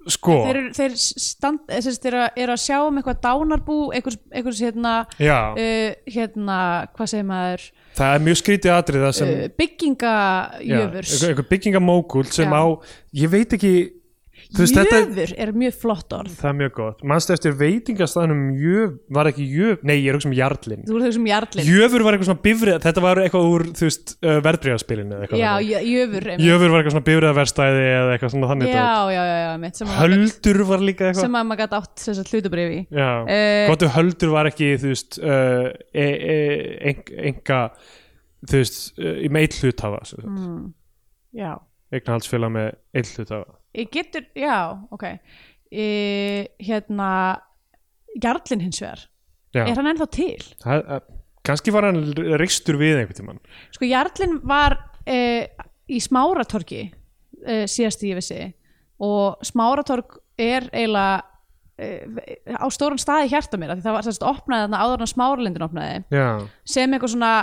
sko þeir, eru- þeir, stand, eh, sem sagt, þeir eru að- eru að sjá um eitthvað dánarbú einhvers, einhvers hérna, Já, uh, hérna hvað segir maður það er mjög skrítið atrið það sem uh, Um, já, byggingajöfurs einhver, einhver byggingamókul sem Já. á, ég veit ekki þú veist, þetta- jöfur er mjög flott orð Það er mjög gott. Manstu eftir veitingastæðanum Jöf, var ekki Jöf, nei ég er ekki sem Jarlin. þú eru þessum jarlinn Jöfur var eitthvað svona bifrið, þetta var eitthvað úr, þú veist, uh, verðbríðarspilinu eða eitthvað. já, þannig. jö- jöfur einmitt. Jöfur var eitthvað svona bifriðarverstæði eða eitthvað svona þannig. já, dót. já, já, já mitt, sem, að maður gat- Höldur var líka eitthvað. sem að maður gæti átt þess að hlutabrifi í Já, Eh, gott ef höldur var ekki, þú veist, uh, e, e, en, enga, þú veist, uh, með eitt hluthafa, mm. já, eignahaldsfélag með eitt hluthafa. ég getur, já, ok e, hérna jarlinn hins vegar Já, er hann ennþá til? það, uh, kannski var hann reistur við einhvern tímann. Sko Jarlinn var uh, í Smáratorgi uh, síðast í ég vissi og Smáratorg er eiginlega uh, á stóran staði hjarta mér af því það var sérst opnaði þarna áður en smáralindin opnaði Já, sem eitthvað svona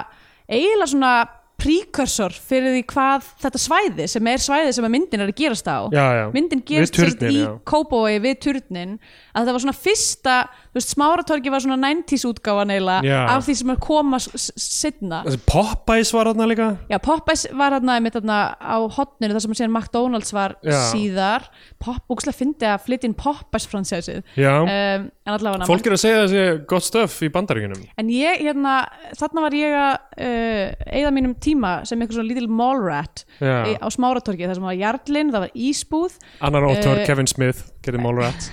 eiginlega svona precursor fyrir því hvað þetta svæði sem er svæði sem að myndin er að gerast á já, já. myndin Við gerist sérst turninn, í já. Kópói við turnin að þetta var svona fyrsta, þú veist, smáratorgi var svona 90s útgáfa neila Já. af því sem er koma setna Þessi Popeyes var þarna líka Já, Popeyes var hann einmitt hann á hotninu þar sem síðan McDonalds var Já. síðar Popbúkslega fyndi að flytja inn Popeyes fransæsið Já, um, en allavega fólk er að segja þessi gott stöf í bandaríkunum En ég, hérna, þarna var ég að uh, eigða mínum tíma sem einhver svona lítil mallrat Já. í- á smáratorkið þar sem var Jarlinn, það var Ísbúð Annar óttur, Eh, Kevin Smith, gerði málrætt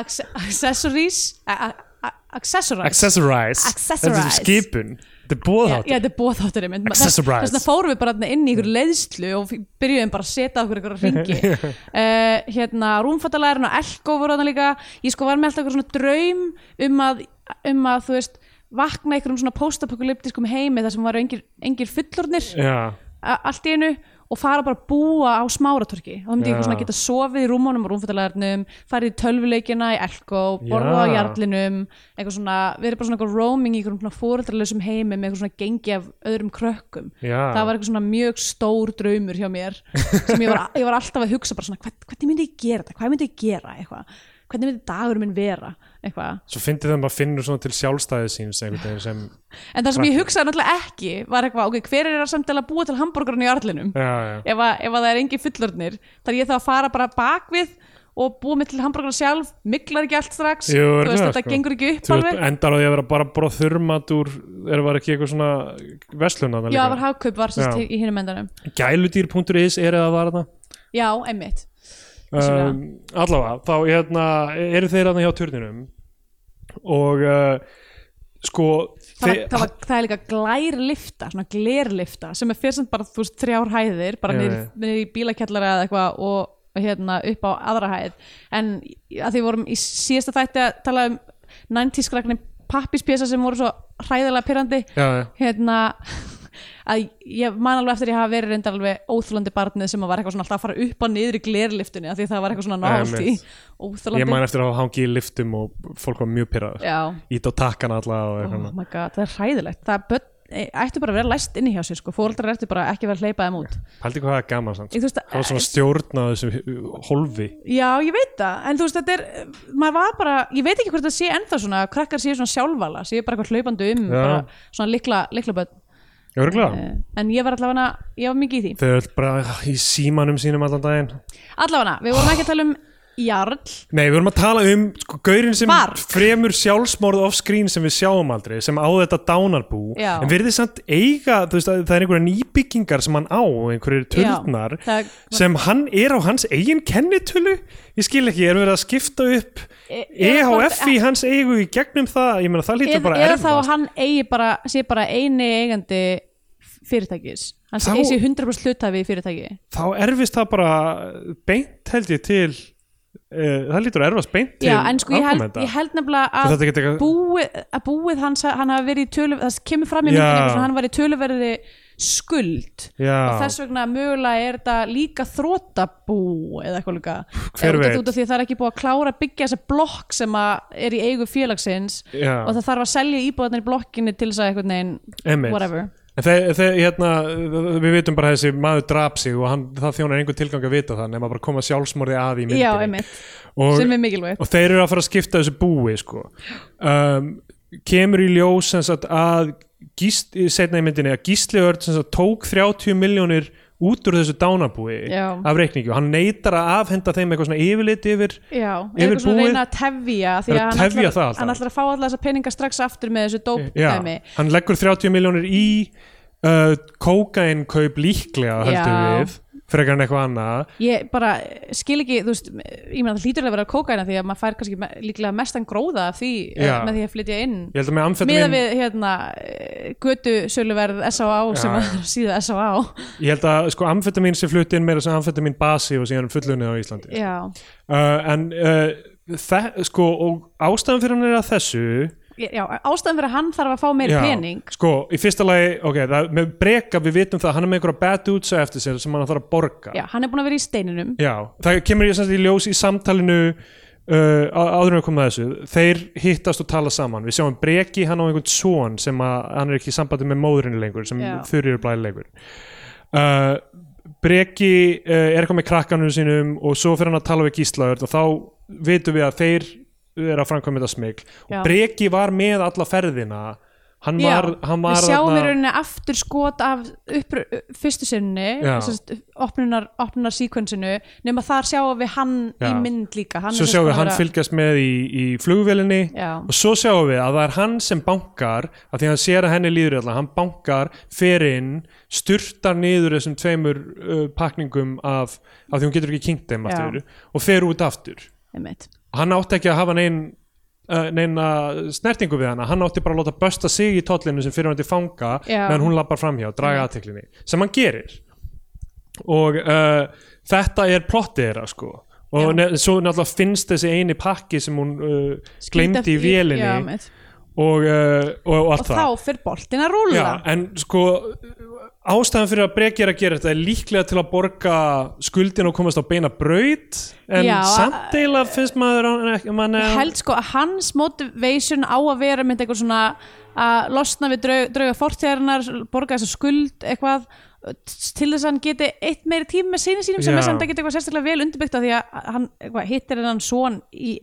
Acce- Accessories a- a- a- accessorize Accessorize, Accessorize. Þetta er skipun Þetta er bóðhátt Já, þetta er bóðháttur einmitt Þess Accessorize. þess vegna fórum við bara þarna inn í ykkur leiðslu og f- byrjuðum bara að setja okkur ykkur ringi uh, Hérna, rúmfattalærun og elko voru þarna líka Ég sko var með alltaf ykkur svona draum um að, um að þú veist vakna ykkur um svona postapokalyptiskum heimi þar sem var engir, engir fullornir Já, a- allt í einu og fara bara að búa á smáratorki þá myndi ég Já. eitthvað svona geta sofið í rúmónum og rúmfattalarnum farið í tölvuleikina í Elko borða á Já. jarlinum eitthvað svona, verið bara svona eitthvað roaming í einhverjum svona fóreldralausum heimi með eitthvað svona gengi af öðrum krökkum Já. það var eitthvað svona mjög stór draumur hjá mér sem ég var, ég var alltaf að hugsa bara svona hvern, hvernig myndi ég gera þetta, hvað myndi ég gera eitthvað hvernig myndi dagur minn vera eitthvað svo fyndið það að maður finnur svona til sjálfstæði síns einhvern veginn sem en það sem ég hugsaði náttúrulega ekki var eitthvað, ok, hver er að samt að búa til hambúrgarinn í jarlinum Já, já, ef, að, ef að það er engin fullorðnir þar ég þá að fara bara bakvið og búa mig til hambúrgar sjálf miklar ekki allt strax Jú, þú er veist, það, þetta sko. gengur ekki upp Þú veist, alveg endar á því að vera bara bara þurmat úr, er var ekki eitthvað svona veslunana já, líka var hagkaup var sérst Já. í hinum endanum gæludýr.is er eða var það já, einmitt um, allavega, þá hérna, eru þeir aðna hjá turninum og uh, sko það, var, þe- það, var, það er líka glærlifta svona glærlifta sem er fyrst sem bara þú veist þrjár hæðir bara Já, niður niður í bílakjallara eða eitthvað og og hérna upp á aðra hæð en að því vorum í síðasta þætti að tala um 90s skrakni pappispjesa sem voru svo hræðilega pyrrandi já, já, hérna að ég man alveg eftir að ég hafa verið reyndar alveg óþólandi barnið sem var eitthvað svona alltaf að fara upp og niður í glerliftunni af því það var eitthvað svona nált í Einmitt. óþólandi ég man eftir að hangi í liftum og fólk var mjög pyrraður já, ít á takkan allavega og oh eitthvað my god, það er hræðilegt það er börn, e, ættu bara að vera læst inni hjá sér sko. fóreldrar ættu bara ekki að vera að hleypa þeim út Haldi hvað það er gaman samt sko. Ég, þú veist, Það var svona stjórn á þessu hólfi já, ég veit það en þú veist, þetta er, maður var bara ég veit ekki hvort það sé ennþá svona að krakkar séu svona sjálfvala, séu bara eitthvað hlaupandi um Já. bara svona likla, likla börn Eh, Örgulega en ég var allavega, ég var mikið í því Þau er bara í símanum sínum allan daginn allavega, við vorum ekki að tala um jarl Nei, við vorum að tala um sko, gaurin sem Var. fremur sjálfsmorð off-screen sem við sjáum aldrei, sem á þetta dánarbú Já. en verðið samt eiga, þú veist, að það er einhverja nýbyggingar sem hann á, einhverjir turnar Já, það- sem hann er á hans eigin kennitölu, ég skil ekki er verið að skipta upp E- EHF í hans eigu í gegnum það ég meina það lítur eða, bara eða þá að erfast hann eigi bara, sé bara eini eigandi fyrirtækis hann Þá- þá... sé 100% hlutafi í fyrirtæki þá erfist það bara beint held ég til uh, það lítur að erfast beint til já, en sko ég held, ákomenda. ég held nefnilega Svo að þetta geti eitthvað- búið, að búið hans, hann hafi verið í tölu það kemur fram í Já. myndinu eitthvað svona, hann var í töluverði skuld Já. og þess vegna mögulega er þetta líka þrótabú eða eitthvað líka Hver Eða út af- veit? út af því að það er ekki búið að klára að byggja þessa blokk sem að er í eigu félagsins Já. og það þarf að selja íbúðarnir í blokkinni til þess að eitthvað neginn Einmitt. whatever En þeir, þeir, hérna, við vitum bara að þessi maður drap sig og hann, það þjónar einhver tilgang að vita það nema bara að koma sjálfsmorði að í myndinni Já, einmitt. og, sem er mikilvægt og þeir eru að fara að skipta þessu búi sko. um, kemur í ljós sem sagt, að gísl, setna í myndinni að Gísli Örd sem sagt, tók 30 miljónir út úr þessu dánabúi Já. af reikningi og hann neitar að afhenda þeim eitthvað svona yfirlit yfir Já, Yfir eitthvað svona búið. að reyna að tefja því að Það er að hann tefja ætlar, það alltaf. hann ætlar að fá alltaf þessa peninga strax aftur með þessu Já, dópdæmi hann leggur 30 miljónir í uh, kókainkaup líklega höldum Já. við frekar en eitthvað annað Ég bara eh, skil ekki, þú veist, ég meina það hlýtur að vera kókaina því að maður fær kannski me- líklega mestan gróða af því eh, Já. með því að flytja inn ég held að með miða amfetamin við hérna götu söluverð S.A.A. sem Já. að síða S.A.A. ég held að sko amfetamin sé flutt inn meira sem amfetamin basi og síðan fullunnið á Íslandi Já, uh, en uh, það, sko og ástæðan fyrir hann er að þessu já, ástæðan fyrir að hann þarf að fá meiri Já, pening sko, í fyrsta lagi, ok, það, með breka við vitum það, hann er með einhverja bad útsa eftir sér sem hann þarf að borga Já, hann er búin að vera í steininum Já, það kemur ég semst í ljós í samtalinu uh, á- áður en við komum að þessu þeir hittast og tala saman við sjáum Breki, hann á einhvern son sem að hann er ekki í sambandi með móðurinni lengur sem Já. þurrið er blæði lengur uh, Breki uh, er eitthvað með krakkanum sínum og svo fyrir hann að tala við Gíslaður og þá vitum við að þeir eru að framkvæmja þetta smikl Já. og Breki var með alla ferðina hann Já, var, hann var við sjáum í þarna- rauninni aftur skot af uppr, fyrstu sinni Já. sest, opnunar, opnunar síkvensinu nema þar sjáum við hann í Já. mynd líka hann er svo sem sagt sjáum búinn við að hann vera- fylgjast með í, í flugvélinni Já. og svo sjáum við að það er hann sem bankar að því að hann sér að henni líður allan hann bankar, fer inn sturtar niður þessum tveimur uh, pakningum af, af því hún getur ekki kynkt þeim Já. aftur og fer út aftur Einmitt. hann átti ekki að hafa neinn uh, neina snertingu við hana hann átti bara að láta bösta sig í tollinu sem fyrirvændi fanga Já. meðan hún lappar framhjá, draga aðteklinni sem hann gerir og uh, þetta er plottið þeirra sko og Já. ne, svo náttúrulega finnst þessi eini pakki sem hún uh, Skýta glemdi í í- vélinni já, mitt. og, uh, og, og allt og þá fyrir boltin að rúla Já, en sko ástæðan fyrir að Breki er að gera þetta er líklega til að borga skuldin og komast á beina braut en Já, eh, samt eiginlega finnst maður hann ekki mann ég held sko að hans motivation á að vera mynd eitthvað svona að losna við draug, drauga fortíðarinnar borga þess að skuld eitthvað til þess að hann geti eitt meiri tíma með sinni sínum sem Já. er samt ekkert eitthvað sérstaklega vel undirbyggt af því að hann eitthvað, hittir hennan son í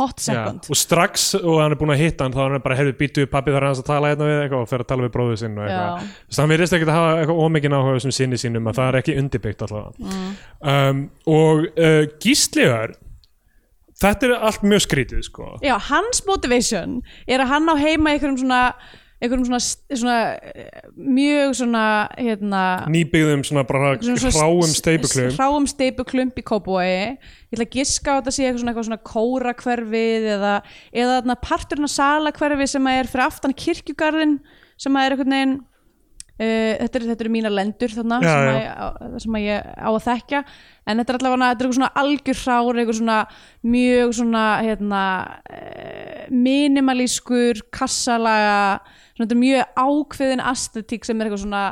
hot second og strax og hann er búin að hitta hann þá er hann bara hefði býtu upp pappi þar er hans að tala hérna við eitthvað og fer að tala við bróðu sinn og Já. eitthvað þess að hann verðist ekkert að hafa eitthvað ómikið áhuga sem sinni sínum að það er ekki undirbyggt alltaf Mm. um, og uh, gísliðar þetta er allt mjög skrítið sko Já, hans motivation er að hann á heima í einhverjum svona einhverjum svona, svona eh, mjög svona hérna, nýbyggðum um svona bara hráum steipuklum hráum steipuklump í kópúi ég ætla að giska á þetta sé eitthvað svona, eitthvað svona kóra hverfið eða, eða þarna parturinn að sala hverfið sem að er fyrir aftan kirkjugarðin sem að er einhvern veginn Uh, þetta, er, þetta eru mínar lendur þarna Já, sem, að, já. ég á- sem að ég á að þekkja en þetta er allavega þetta er eitthvað svona algjör hrár eitthvað svona mjög svona hérna, uh, minimalískur kassalaga svona, þetta er mjög ákveðin astetík sem er eitthvað svona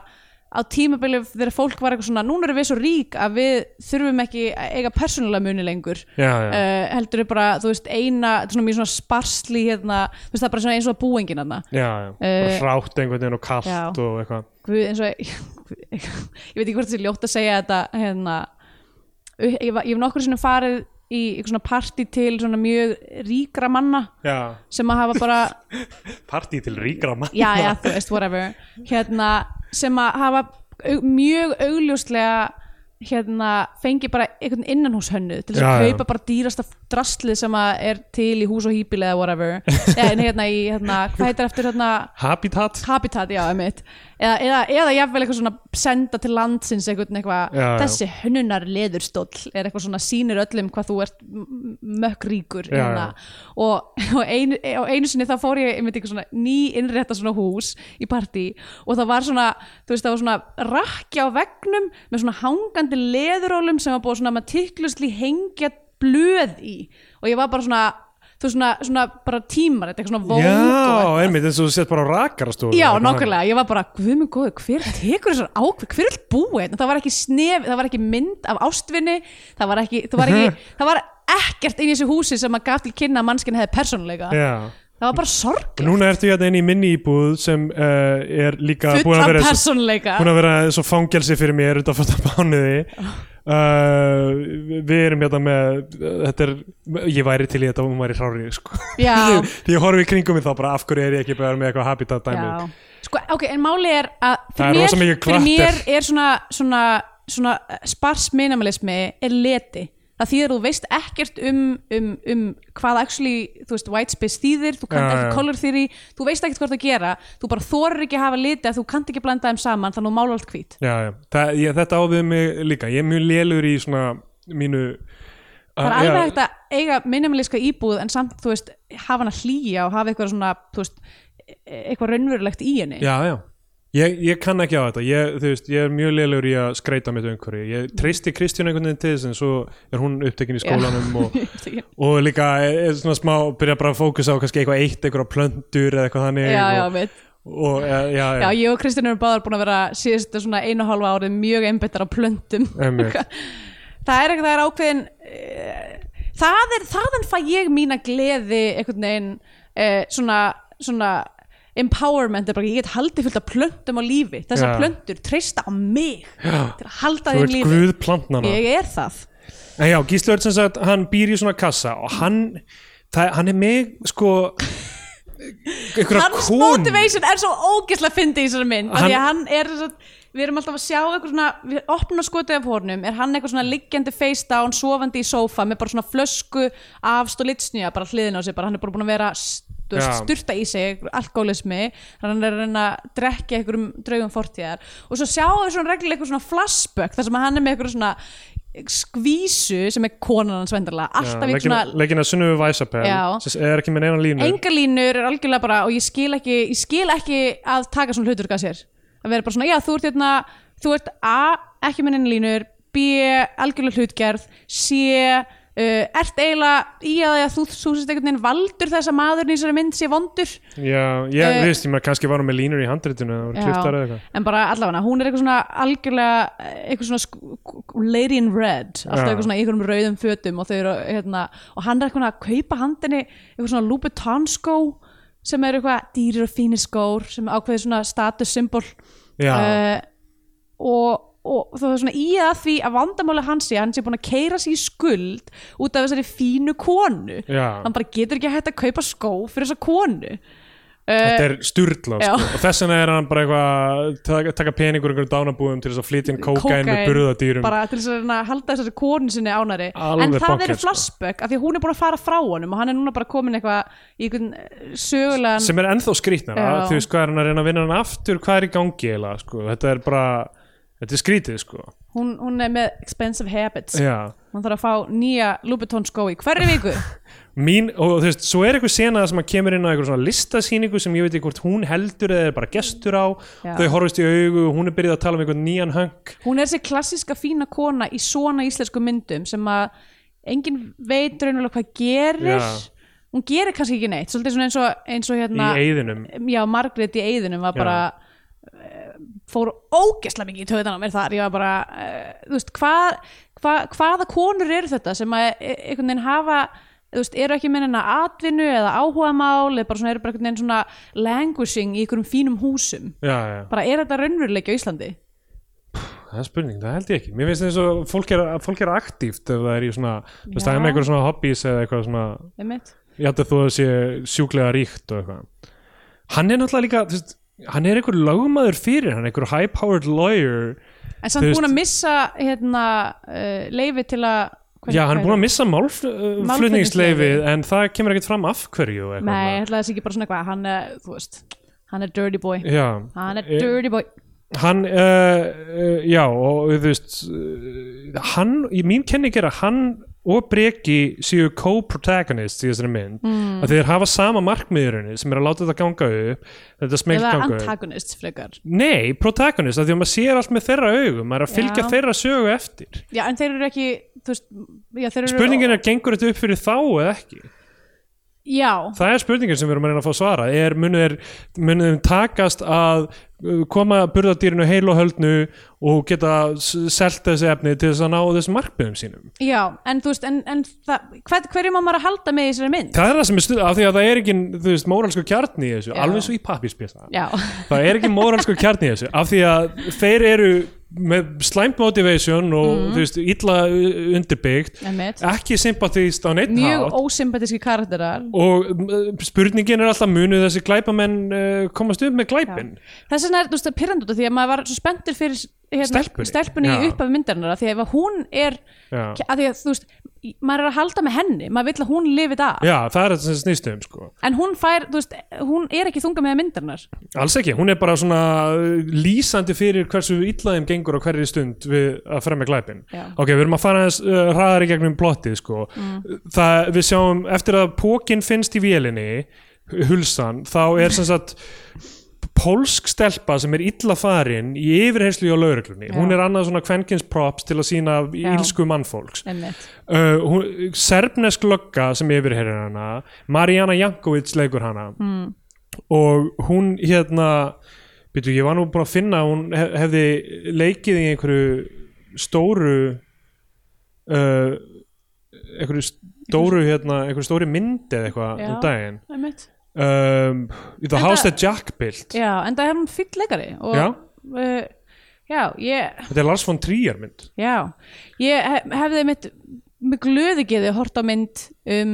á tímabilið þegar fólk var eitthvað svona núna erum við svo rík að við þurfum ekki að eiga persónulega muni lengur já, já. uh, heldur við bara, þú veist, eina þetta er svona mjög svona sparsli hérna, þú veist, það er bara svona eins og að búingin hérna já, já. bara hrátt einhvern veginn og kallt já. og eitthvað Guð, eins og Guð, ég veit ekki hvort þessi ljótt að segja þetta hérna ég, var- ég hef nokkur sinni farið í eitthvað svona party til svona mjög ríkra manna já, sem að hafa bara, partí til ríkra mann já já þú veist whatever, hérna sem að hafa au, mjög augljóslega hérna fengi bara einhvern innanhúshönnu til þess að Já, já. kaupa bara dýrasta drastlið sem að er til í hús og hýpil eða whatever, en hérna í hérna, hvað heitir eftir hérna habitat habitat, já, einmitt eða, eða, eða jafnvel eitthvað svona senda til landsins einhvern eitthvað, Já, já. þessi hönnunar leðurstóll er eitthvað svona sýnir öllum hvað þú ert m- mökkríkur Já, hérna. og, og, einu, e, og einu sinni þá fór ég einmitt eitthvað svona ný innrétta svona hús í partí og það var svona, þú veist, það var svona rakki á vegnum með svona hangandi leðurólum sem var búið svona með tikklusli hengja blöð í og ég var bara svona þú veist svona, svona bara tímar eitthvað svona vók og já, einmitt, eins og þú sett bara á rakarastofu Já, Eitthvað nákvæmlega, ég var bara, guð minn góður, hver tekur þessar ákveð, hver vil búa hérna, það var ekki snef, það var ekki mynd af ástvinni, það var ekki, það var Mhm. ekki, það var ekkert inn í þessu húsi sem að gaf til kynna að mannskinn hefði persónuleika, þannig. það var bara sorg, já. núna ertu hérna inn í minni íbúð sem uh, er líka búin að fullan vera svo, persónuleika, búin að vera svo fangelsi fyrir mér út af fyrsta bánuði Ah. uh, við erum hérna með þetta er, ég væri til í þetta og hún væri hrári sko. Já. því ég horfi í kringum mig þá bara af hverju er ég ekki bara með eitthvað habitat dæmi um. já, sko, ok, en máli er að Það er fyrir rosa mér, mikið fyrir klatter. mér er svona, svona, svona eh, sparsminimalismi er leti það þýðir að þú veist ekkert um, um, um hvað actually, þú veist, white space þýðir þú kannt Já, ekki já. color theory, þú veist ekkert hvað það gera þú bara þorir ekki að hafa liti að þú kannt ekki blanda þeim saman þannig að þú mála allt hvít já, já. Það, ég, þetta á við mig líka ég er mjög lélur í svona mínu það Ah, er alveg hægt að eiga minimaliska íbúð en samt, þú veist, hafa hana hlýja og hafa eitthvað svona, þú veist e- eitthvað raunverulegt í henni já, já. Ég, ég kann ekki á þetta ég, þú veist, ég er mjög lélur í að skreita mitt umhverju ég treysti Kristján einhvern veginn til þess en svo er hún upptekin í skólanum og, og líka er, er svona smá byrja bara að fókusa á kannski eitthvað eitt eitthvað plöndur eða eitthvað þannig já, já, og, veit og, já, já, Já, ég og Kristján erum báðar búin að vera síðustu svona einu og hálfa árið mjög einbyttar á plöndum. Einmitt. það er eitthvað, það er ákveðin, uh, það er, þaðan fæ ég mína gleði einhvern veginn uh, svona, svona empowerment, er bara, ég get haldið fullt af plöndum á lífi, þessar Já. plöndur treysta á mig til að halda þú þeim ert lífi. guð plantnana Ég er það. En já, Gísli Örn sem sagt, hann býr í svona kassa og hann, það, hann er mig sko einhverja Hans konu motivation er svo ógeðslega fyndi í þessari mynd hann, Hann- Því að hann er þess að Við erum alltaf að sjá eitthvað svona Við opnum skotið af hornum Er hann eitthvað svona liggjandi face down Sofandi í sófa Með bara svona flösku af stólitsnja Bara hliðin á sig bara, Hann er bara búin að vera þú veist, Já. styrta í sig Alkoholismi Hann er að reyna að drekja einhverjum draugum fortíðar Og svo sjáum við svona reglulega Eitthvað svona flashback Þar sem að hann er með eitthvað svona skvísu sem er konan hans vendarlega alltaf ja, leggina, svona leggina sunnuðu væsapel Já. sem er ekki með neina línu engalínur er algjörlega bara og ég skil ekki, ég skil ekki að taka svona hlutur sér að vera bara svona, já þú ert hérna þú ert A, ekki með neina línur B, algjörlega hlutgerð C, uh, ert eiginlega í að því að þú, þú sést einhvern veginn valdur þess að maðurinn í þessari mynd sé vondur Já, ég Eh, uh, veist, ég maður kannski var hún með línur í handritinu og Já. kliftar eða eitthvað en bara allavega, hún er eitthvað svona algjörlega, eitthvað svona sk- k- lady in red, alltaf Já. eitthvað svona í einhverjum rauðum fötum og þau eru hérna og hann er eitthvað að kaupa handinni eitthvað svona Louboutin-skó sem eru eitthvað dýrir og fínir skór sem er ákveðið svona status symbol Já, uh, og, og það er svona í að því að vandamáli hans sé að hann sé búin að keira sig í skuld út af þessari fínu konu já, hann bara getur ekki að hætta að kaupa skó fyrir þessa konu þetta er sturla eh, já. sko. og þess vegna er hann bara eitthvað að taka- taka peningur einhverjum dánabúðum til þess að flytja inn kókain með burðadýrum bara til þess að reyna að halda þessari konu sinni ánari Alveg en það bonkers, eru sko. flashback af því að hún er búin að fara frá honum og hann er núna bara komin eitthvað í einhvern eh, sögulegan sem er ennþá skrýtnara Já. þú veist hvað er hann að reyna að vinna hann aftur hvað er í gangi eiginlega, sko, þetta er bara þetta er skrýtið, sko hún, hún er með expensive habits Já. hún þarf að fá nýja Louboutin skó í hverju viku Mín, og þú veist, svo er eitthvað sena sem að kemur inn á eitthvað svona listasýningu sem ég veit ekki hvort hún heldur eða er bara gestur á Já. þau horfist í augu og hún er byrjuð að tala um eitthvað nýjan hönk hún er þessi klassiska fína kona í svona íslensku myndum sem að enginn veit raunverulega hvað gerir Já. hún gerir kannski ekki neitt svolítið svona eins og, eins og hérna í eiðinum já, Margrét í Eiðunum var Já. bara eh, fór ógesla mikið í töðan á mér þar, ég var bara uh, þú veist, hvað, hva, hvaða konur eru þetta sem að e- einhvern veginn hafa þú veist, eru ekki með hennar atvinnu eða áhugamál, eða bara svona eru bara einhvern veginn svona languishing í einhverjum fínum húsum já, já. bara er þetta raunveruleiki á Íslandi það er spurning, það held ég ekki mér finnst eins og fólk er, fólk er aktíft ef það er í svona, þú veist, það Já. er með eitthvað svona hobbies eða eitthvað svona, einmitt, ég held að þú að sé sjúklega ríkt og eitthvað hann er náttúrulega líka, þú veist, hann er einhver lögmaður fyrir hann, einhver high powered lawyer en samt Þú veist- búin að missa hérna uh, leifi til að hvernig- já, hann er búin að hvernig- missa málflutningsleifi Málflutningsleyfið. en það kemur ekkert fram af hverju og eitthvað. nei, ætlaði þessi ekki bara svona eitthvað hann er, þú veist, hann er dirty boy já, hann er Eh, dirty boy hann uh, uh, já, og þú veist uh, hann, í mín kenning er að hann og Breki séu co-protagonists í þessari mynd mm. að þeir hafa sama markmiðurinni sem er að láta þetta ganga upp þetta smelt eða ganga upp antagonist frekar Nei, protagonist, af því að maður sér allt með þeirra augum maður er að fylgja Já. þeirra sögu eftir já en þeir eru ekki þú veist, já, þeir eru, Spurningin er, gengur þetta upp fyrir þá eða ekki? já, Það er spurningin sem við erum að reyna að fá svara er, munu þeir, munu þeim takast að uh, koma burðardýrinu heil og höldnu og geta selta þessi efni til þess að ná þessum markmiðum sínum já en þú veist en, en það, hver, hverju má maður að halda með í þessari mynd Það er það sem er stuð, af því að það er ekki þú veist, móralsku kjarni í þessu, Já. alveg svo í pappíspjasa já, það er ekki móralsku kjarni í þessu af því að þeir eru með slæmt motivation og Mhm. þú veist, illa u- undirbyggt emmitt ekki sympatíst á neitt mjög hátt ósympatíski karakterar og uh, spurningin er alltaf munu þessi glæpamenn uh, komast upp með glæpin þess vegna er þú veist það pirrandi út af því að maður var svo spenntur fyrir hérna, Stelpunni. stelpunni í Já. upphafi myndarinnar af því að ef að hún er Já. að því að þú veist maður er að halda með henni, maður vill að hún lifi það Já, það er þetta sem snýst um sko. en hún fær, þú veist, hún er ekki þunga með myndarinnar Alls ekki, hún er bara svona uh, lýsandi fyrir hversu illa þeim gengur á hverju stund við að fremja glæpin Já. Ok, við erum að fara aðeins uh, hraðar í gegnum plottið sko. Mm. það, Við sjáum, eftir að pókin finnst í vélinni hulsan, þá er sem sagt pólsk stelpa sem er illa farin í yfirheyslu hjá lauruglunni Já. hún er annað svona kvenkins props til að sína Já. ílsku mannfólks emmitt uh, hún, serbnesk lögga sem yfirheyrir hana Mariana Jankovic leikur hana mm. og hún hérna byrju, ég var nú búin að finna að hún hef, hefði leikið í einhverju stóru uh, einhverju stóru hérna, einhverju stóri mynd eða eitthvað Já. um daginn emmitt um, The Enda- House That Jack Built Já, en það er hann fýll leikari og, Já. Uh, já, ég, þetta er Lars von Trier mynd já, ég hef, hefði mitt með glöði geði hort á mynd um,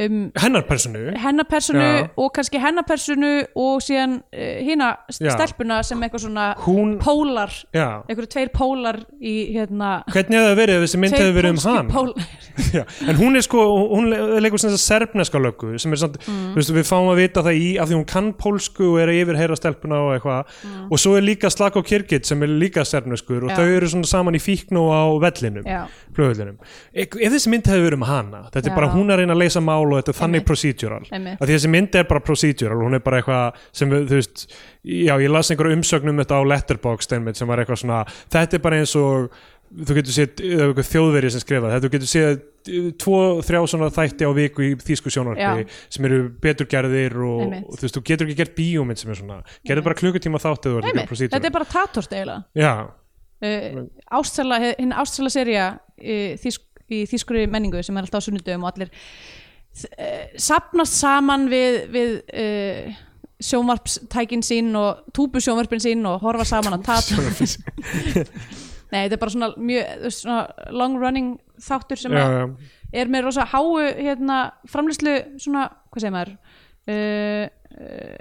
um hennar personu hennar personu Já. og kannski hennar personu og síðan uh, hina Já. stelpuna sem eitthvað svona hún, pólar, já eitthvað tveir pólar í hérna hvernig hefði það verið ef þessi mynd hefði verið um hann pólar já, en hún er sko, hún le- leikur sem þess að serbneska löggu sem er samt, Mm. þú veist, við fáum að vita það í af því hún kann pólsku og er að yfirheyra stelpuna og eitthvað, og svo er líka Slako Kirkit sem er líka serbneskur og Mm. Já. þau eru svona saman í fíknu á vellinum Já. flugullinum, ef þessi mynd hefði verið um hana, þetta Já. er bara hún að reyna að leysa mál og þetta er þannig procedural Einmitt. að því þessi mynd er bara procedural, hún er bara eitthvað sem, við- þú veist, já, ég las einhverja umsögnum þetta á Letterboxd einmitt sem var eitthvað svona, þetta er bara eins og þú getur séð eða einhver þjóðverið sem skrifað þetta, þú getur séð eh, tvo, þrjá svona þætti á viku í þýsku sjónarpi Já. sem eru betur gerðir og, Einmitt. og þú veist, þú getur ekki gert bíómynd sem er svona, gerðu bara klukkutíma þáttið og Einmitt, þetta procedural, er bara tatort eiginlega já, uh, ástæla, hinn ástæla serja uh, þýsk, í þýskuri menningu sem er alltaf á sunnudöfum og allir uh, sapnast saman við, við uh, sjónvarpstækin sín og túbusjónvarpin sín og horfa saman að tata Nei, þetta er bara svona, mjög, þú veist, svona long running þáttur sem já, að já. er með rosa háu hérna, framlýslu svona, hvað segir maður uh,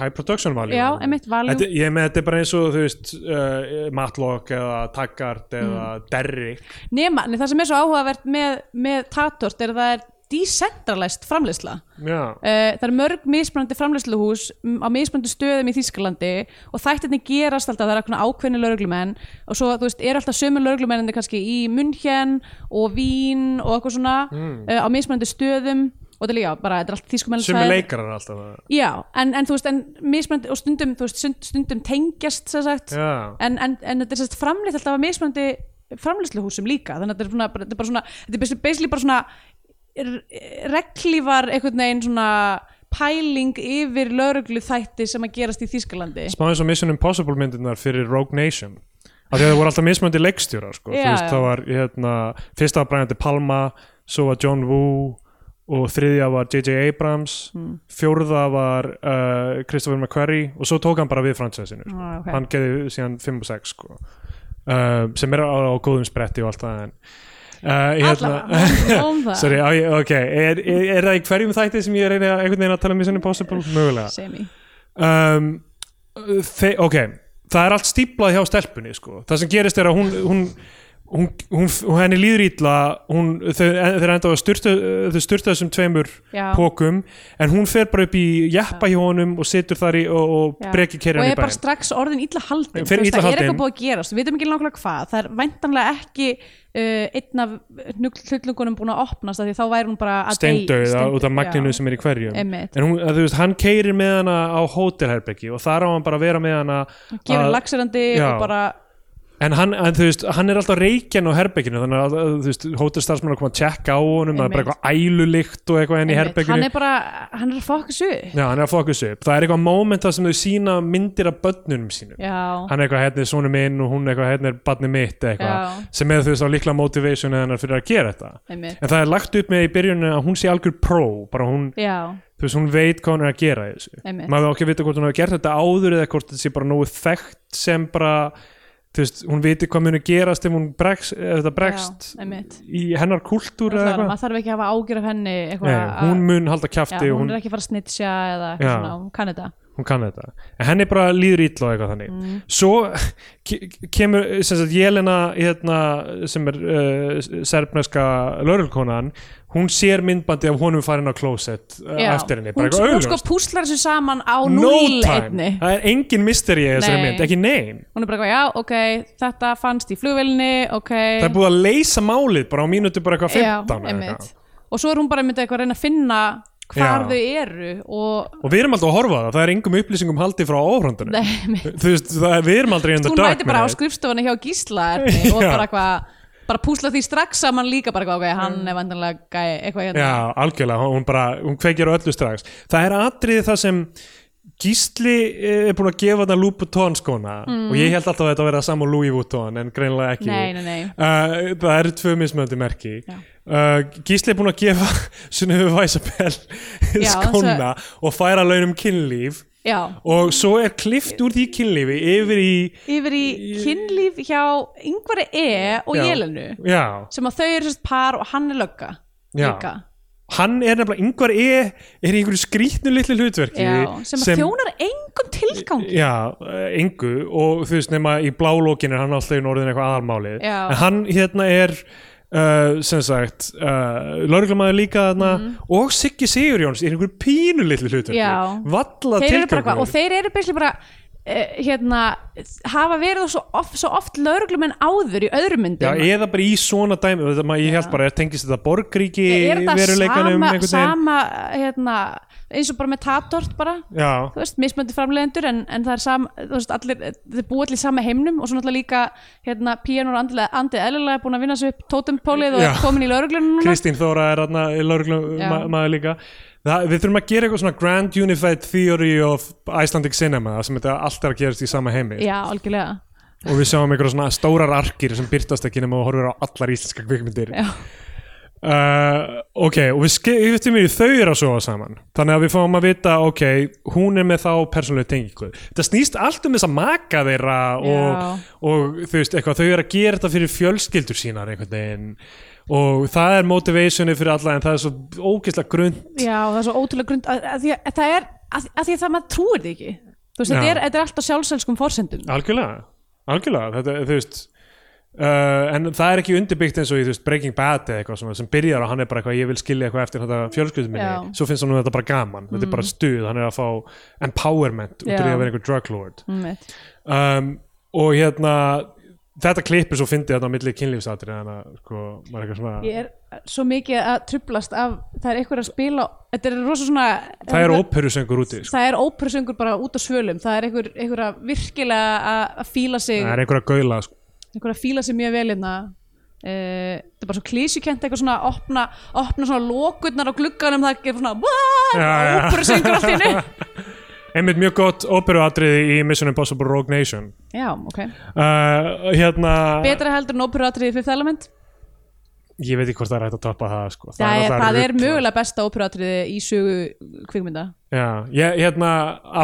high production value Já, einmitt, value. þetta, ég með þetta er bara eins og þú veist uh, Matlock eða Taggart eða Mm. Derrick nema, en það sem er svo áhugavert með, með tatort er að það er decentralized framlýsla já, Uh, það eru mörg mismunandi framleysluhús á mismunandi stöðum í Þýskalandi og þættirni gerast alltaf, það er eitthvað ákveðni lauruglumenn og svo, þú veist, eru alltaf sömu lauruglumenninni kannski í München og Vín og eitthvað svona uh, á mismunandi stöðum og þetta er líka, bara, þetta er allt þýskum sem er leikarar alltaf það. Já, en, en þú veist, en mismunandi og stundum, þú veist, stund, stundum tengjast sem sagt, Já. en, en, en þetta er sérst framleitt alltaf að mismunandi framleiðsluhúsum líka þannig að þetta er, svona, þetta er bara svona þetta er basically- basically bara svona r- reglífar einhvern veginn svona pæling yfir lauruglu þætti sem að gerast í Þýskalandi smá eins og Mission Impossible myndirnar fyrir Rogue Nation af því að það voru alltaf mismöndi leikstjórar Já, sko. þú veist já. það var hérna, fyrsta var Brian De Palma svo var John Woo og þriðja var J.J. Abrams Hmm. fjórða var uh, Christopher McQuarrie og svo tók hann bara við fransæsinu sko. Ah, ok. hann geði síðan 5 og 6 sko. uh, sem er á, á góðum spretti og allt það en Uh, Allavega, nóg um það. sorry, á ég- ok er, er, er það í hverjum þætti sem ég er einhvern veginn að tala um Mission Impossible? Mögulega semi um, þe- ok, það er allt stíplað hjá stelpunni sko. það sem gerist er að hún, hún, hún, hún, hún henni líður ítla hún, þau, þeir enda á að styrta þau styrta þessum tveimur Já. pókum en hún fer bara upp í jeppa hjá honum og situr þar í og, og breki og kerjan í er bara bæinn strax orðin illa haldin Þú Fyrir veist, illa það er haldin. eitthvað búið að gerast, við veitum ekki nákvæmlega hvað það er væntanlega ekki uh, einn af hlutlungunum búin að opnast af því þá væri hún bara að dey- steindauð steind- út af magninu já. sem er í hverjum Einmitt. en hún, að, þú veist, hann keirir með hana á hótelherbeggi og þar á hann bara að vera með hana gefur að- laxirandi Já. og bara En hann, en, þú veist, hann er alltaf reykjan á herbygginu þannig að þú veist, hótelstarfsmenn er að koma að tjekka á honum það er bara Einmitt. eitthvað ælulikt og eitthvað enn í Einmitt, herbygginu hann er bara, hann er að fokka svo upp Já, hann er að fókus upp Það er eitthvað moment þar sem þau sína myndir af börnunum sínum já, Hann er eitthvað hérna er sonu minn og hún er eitthvað hérna er barni mitt eitthvað Já. sem er þú veist á líkla motivation hennar fyrir að gera þetta einmitt En það er lagt upp með í byrjunni að hún sé algjör pro bara hún, já, þú veist, hún veit hvað hún er að gera í þessu Einmitt. maður á ekki að vita hvort hún hefur gert þetta áður eða hvort þetta sé bara nógu þekkt sem bara þú veist, hún viti hvað muni gerast ef hún bregst, ef þetta bregst Já, einmitt. í hennar kúltúr eða allavega, eitthvað maður þarf ekki að hafa ágjur af henni eitthvað Nei, að- hún mun halda já, kjafti hún, og hún, er hún, ekki að fara að snitja eða eitthvað Já. svona, hún kann þetta kann þetta en henni bara líður ítla og eitthvað þannig Mm. svo ke- kemur sem sagt, Jelena hérna, sem er uh, serbneska laurulkonan hún sér myndbandi af honum farin á klósett uh, Já. eftir henni, bara hún, eitthvað hún sko augljóst púslar þessu saman á no núl time, einni það er engin mysteri í þessari Nei. mynd, ekki nein hún er bara eitthvað, já, ok, þetta fannst í flugvelni ok, það er búið að leysa málið bara á mínútu bara eitthvað já, 15 eða einmitt eitthvað. og svo er hún bara einmitt eitthvað að reyna að finna hvar Já. þau eru og og við erum alltaf að horfa á það, það er engum upplýsingum haldið frá áhröndunum Nei, einmitt. þú veist, það, er- við erum aldrei in the hún dark mæti bara á með þetta. skrifstofana hjá Gísla Erni, og Já. bara eitthvað bara púsla því strax saman líka bara eitthvað, ok, hann er vandanlega gæi eitthvað hérna, Mm. já, algjörlega, hún- hún bara, hún kveikir á öllu strax það er atriði það sem Gísli eh, er búin að gefa þarna Louis Vuitton skona og ég held alltaf að þetta verið að sama Louis Vuitton en greinlega ekki Nei, nei, nei. Uh, það eru tvö mismöndi merki Já. uh, Gísli er búin að gefa Sunnifu Væsabell Já, skona og færa launum kynlíf já. og svo er klift úr því kynlífi yfir í yfir í kynlíf hjá yngvari E og Já. Jelenu já, sem að þau eru sérst par og hann er lögga Já. líka hann er nefnilega, yngvar E er í einhverju skrýtnu litlu hlutverki já, sem, sem þjónar engum tilgangi Já, eh, engu og þú veist nema í blálókin er hann alltaf í norðin eitthvað aðalmálið Já. en hann hérna er uh, sem sagt uh, lauruglamaður líka þarna Mhm. og Siggi Sigurjóns er einhver pínu litlu hlutur Já. valla þeir eru bara hvað, og tilgangur þeir eru basically bara uh, hérna, hafa verið svo oft, svo oft lauruglumenn áður í öðrum Já, myndum eða bara í svona dæmi þetta maður, ég held bara, er tengist þetta borgríki er þetta veruleikanum sama, einhvern veginn? sama hérna, eins og bara með tatort bara Já, þú veist, mismöndi framleiðendur en, en það er sam, þú veist, allir, þeir búa allir í sama heimnum og svo náttúrulega líka hérna, píanur og andið eðlilega búin að vinna sér upp tótempólið og Já. er komin í lauruglunum núna Kristín Þóra er þarna Já. lauruglum maður líka Það, við þurfum að gera eitthvað svona Grand Unified Theory of Icelandic Cinema það sem þetta allt er að gerast í sama heimi Já, algjörlega og við sjáum einhverja svona stórar arkir sem byrtast ekki nema og horfir á allar íslenska kvikmyndir Já. Uh, ok, og við skiptum í þau eru að sofa saman, þannig að við fáum að vita ok, hún er með þá persónulega tengingu, þetta snýst allt um þess að maka þeirra og, og þú veist, eitthvað, þau eru að gera þetta fyrir fjölskyldur sínar einhvern veginn og það er motivationið fyrir alla en það er svo ógeðslega grunn Já, það er svo ótrúlega grund að, að, því að, að það er, að, að því að það maður trúir því ekki þú veist, þetta Já. er, þetta er alltaf sjálfselskum forsendum algjörlega, algjörlega þetta, er, þú veist uh, en það er ekki undirbyggt eins og í þú veist, Breaking Bad eða eitthvað svona, sem byrjar og hann er bara eitthvað ég vil skilja eitthvað eftir þetta fjölskyldum minni Já. Mm. svo finnst hann þetta bara gaman, þetta er bara stuð hann er að fá empowerment út úr Já. því að vera einhver drug lord Einmitt. um, og hérna þetta klippur svo fyndið þetta á milli kynlífsatri þannig að sko, maður er eitthvað svona Ég er svo mikið að trublast af það er eitthvað að spila þetta er rosa svona það er óperusöngur úti sko. það er ópersöngur bara út á svölum það er einhver, einhver að virkilega að- að fíla sig það er einhver að gaula sko. einhver að fíla sig mjög vel hérna uh, það er bara svo klísjukent eitthvað svona að opna, opna svona lokurnar á glugganum það gerir svona Já, já. óperu syngur allt í hennu einmitt mjög gott óperuatriði í Mission Impossible Rogue Nation já, ok, uh, hérna betra heldur en óperu atriði fyrir element ég veit ekki hvort það er hægt að toppa það sko. það er, það er náttúrulega rugl. mögulega besta óperu atriði í sögu kvikmynda já, ég, hérna,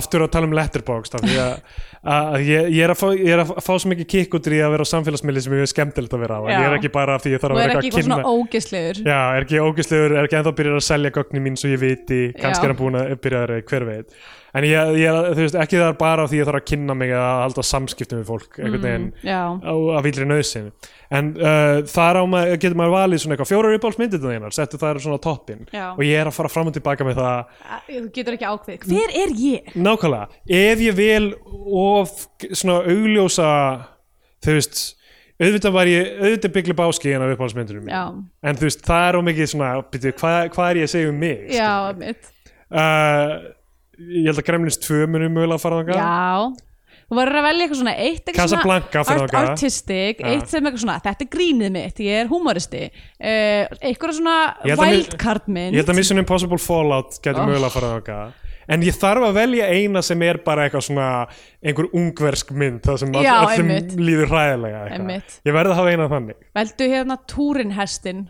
aftur að tala um letterboxd af því að, að ég, ég, er að fá, ég er að fá svo mikið kikk út í að vera á samfélagsmiðli sem ég er skemmtilegt að vera á en Já. ég er ekki bara af því ég þarf og að er vera ekki eitthvað að eitthvað kynna svona ógeðslegur já, er ekki ógæslegur, er ekki ennþá byrjar að selja gögnin mín svo ég viti, kannski Já. er hann búin að byrja að hver veit en ég, ég, þú veist, ekki það er bara af því ég þarf að kynna mig að halda samskiptum við fólk Mm. einhvern veginn já, á, af illri nöðsinn en uh, þar á maður, getur maður valið svona eitthvað fjórar uppáhaldsmyndir þínar, settu það svona á toppinn Já. og ég er að fara fram og tilbaka með það Að- þú getur ekki ákveð hver er ég? nákvæmlega, ef ég vel of svona augljósa þú veist auðvitað var ég, auðvitað byggli báski en af uppáhaldsmyndunum já, en þú veist, það er of mikið svona byrju, hvað, hvað er ég að segja um mig já, mitt uh, ég held að Gremlins 2 munum mögulega að fara þangað Já Þú verður að velja eitthvað svona eitt eitthvað Casablanca svona fyrir art, okkar. artistic, Já. eitt sem eitthvað svona þetta er grínið mitt, ég er humoristi uh, eitthvað svona Ég held að mér- wildcard ég mynd held að Mission Impossible Fallout getur Oh. mögulega að fara þangað en ég þarf að velja eina sem er bara eitthvað svona einhver ungversk mynd það sem Já, all- öllum einmitt. líður hræðilega eitthvað. Einmitt. ég verði að hafa eina þannig veldu hérna túrinhestin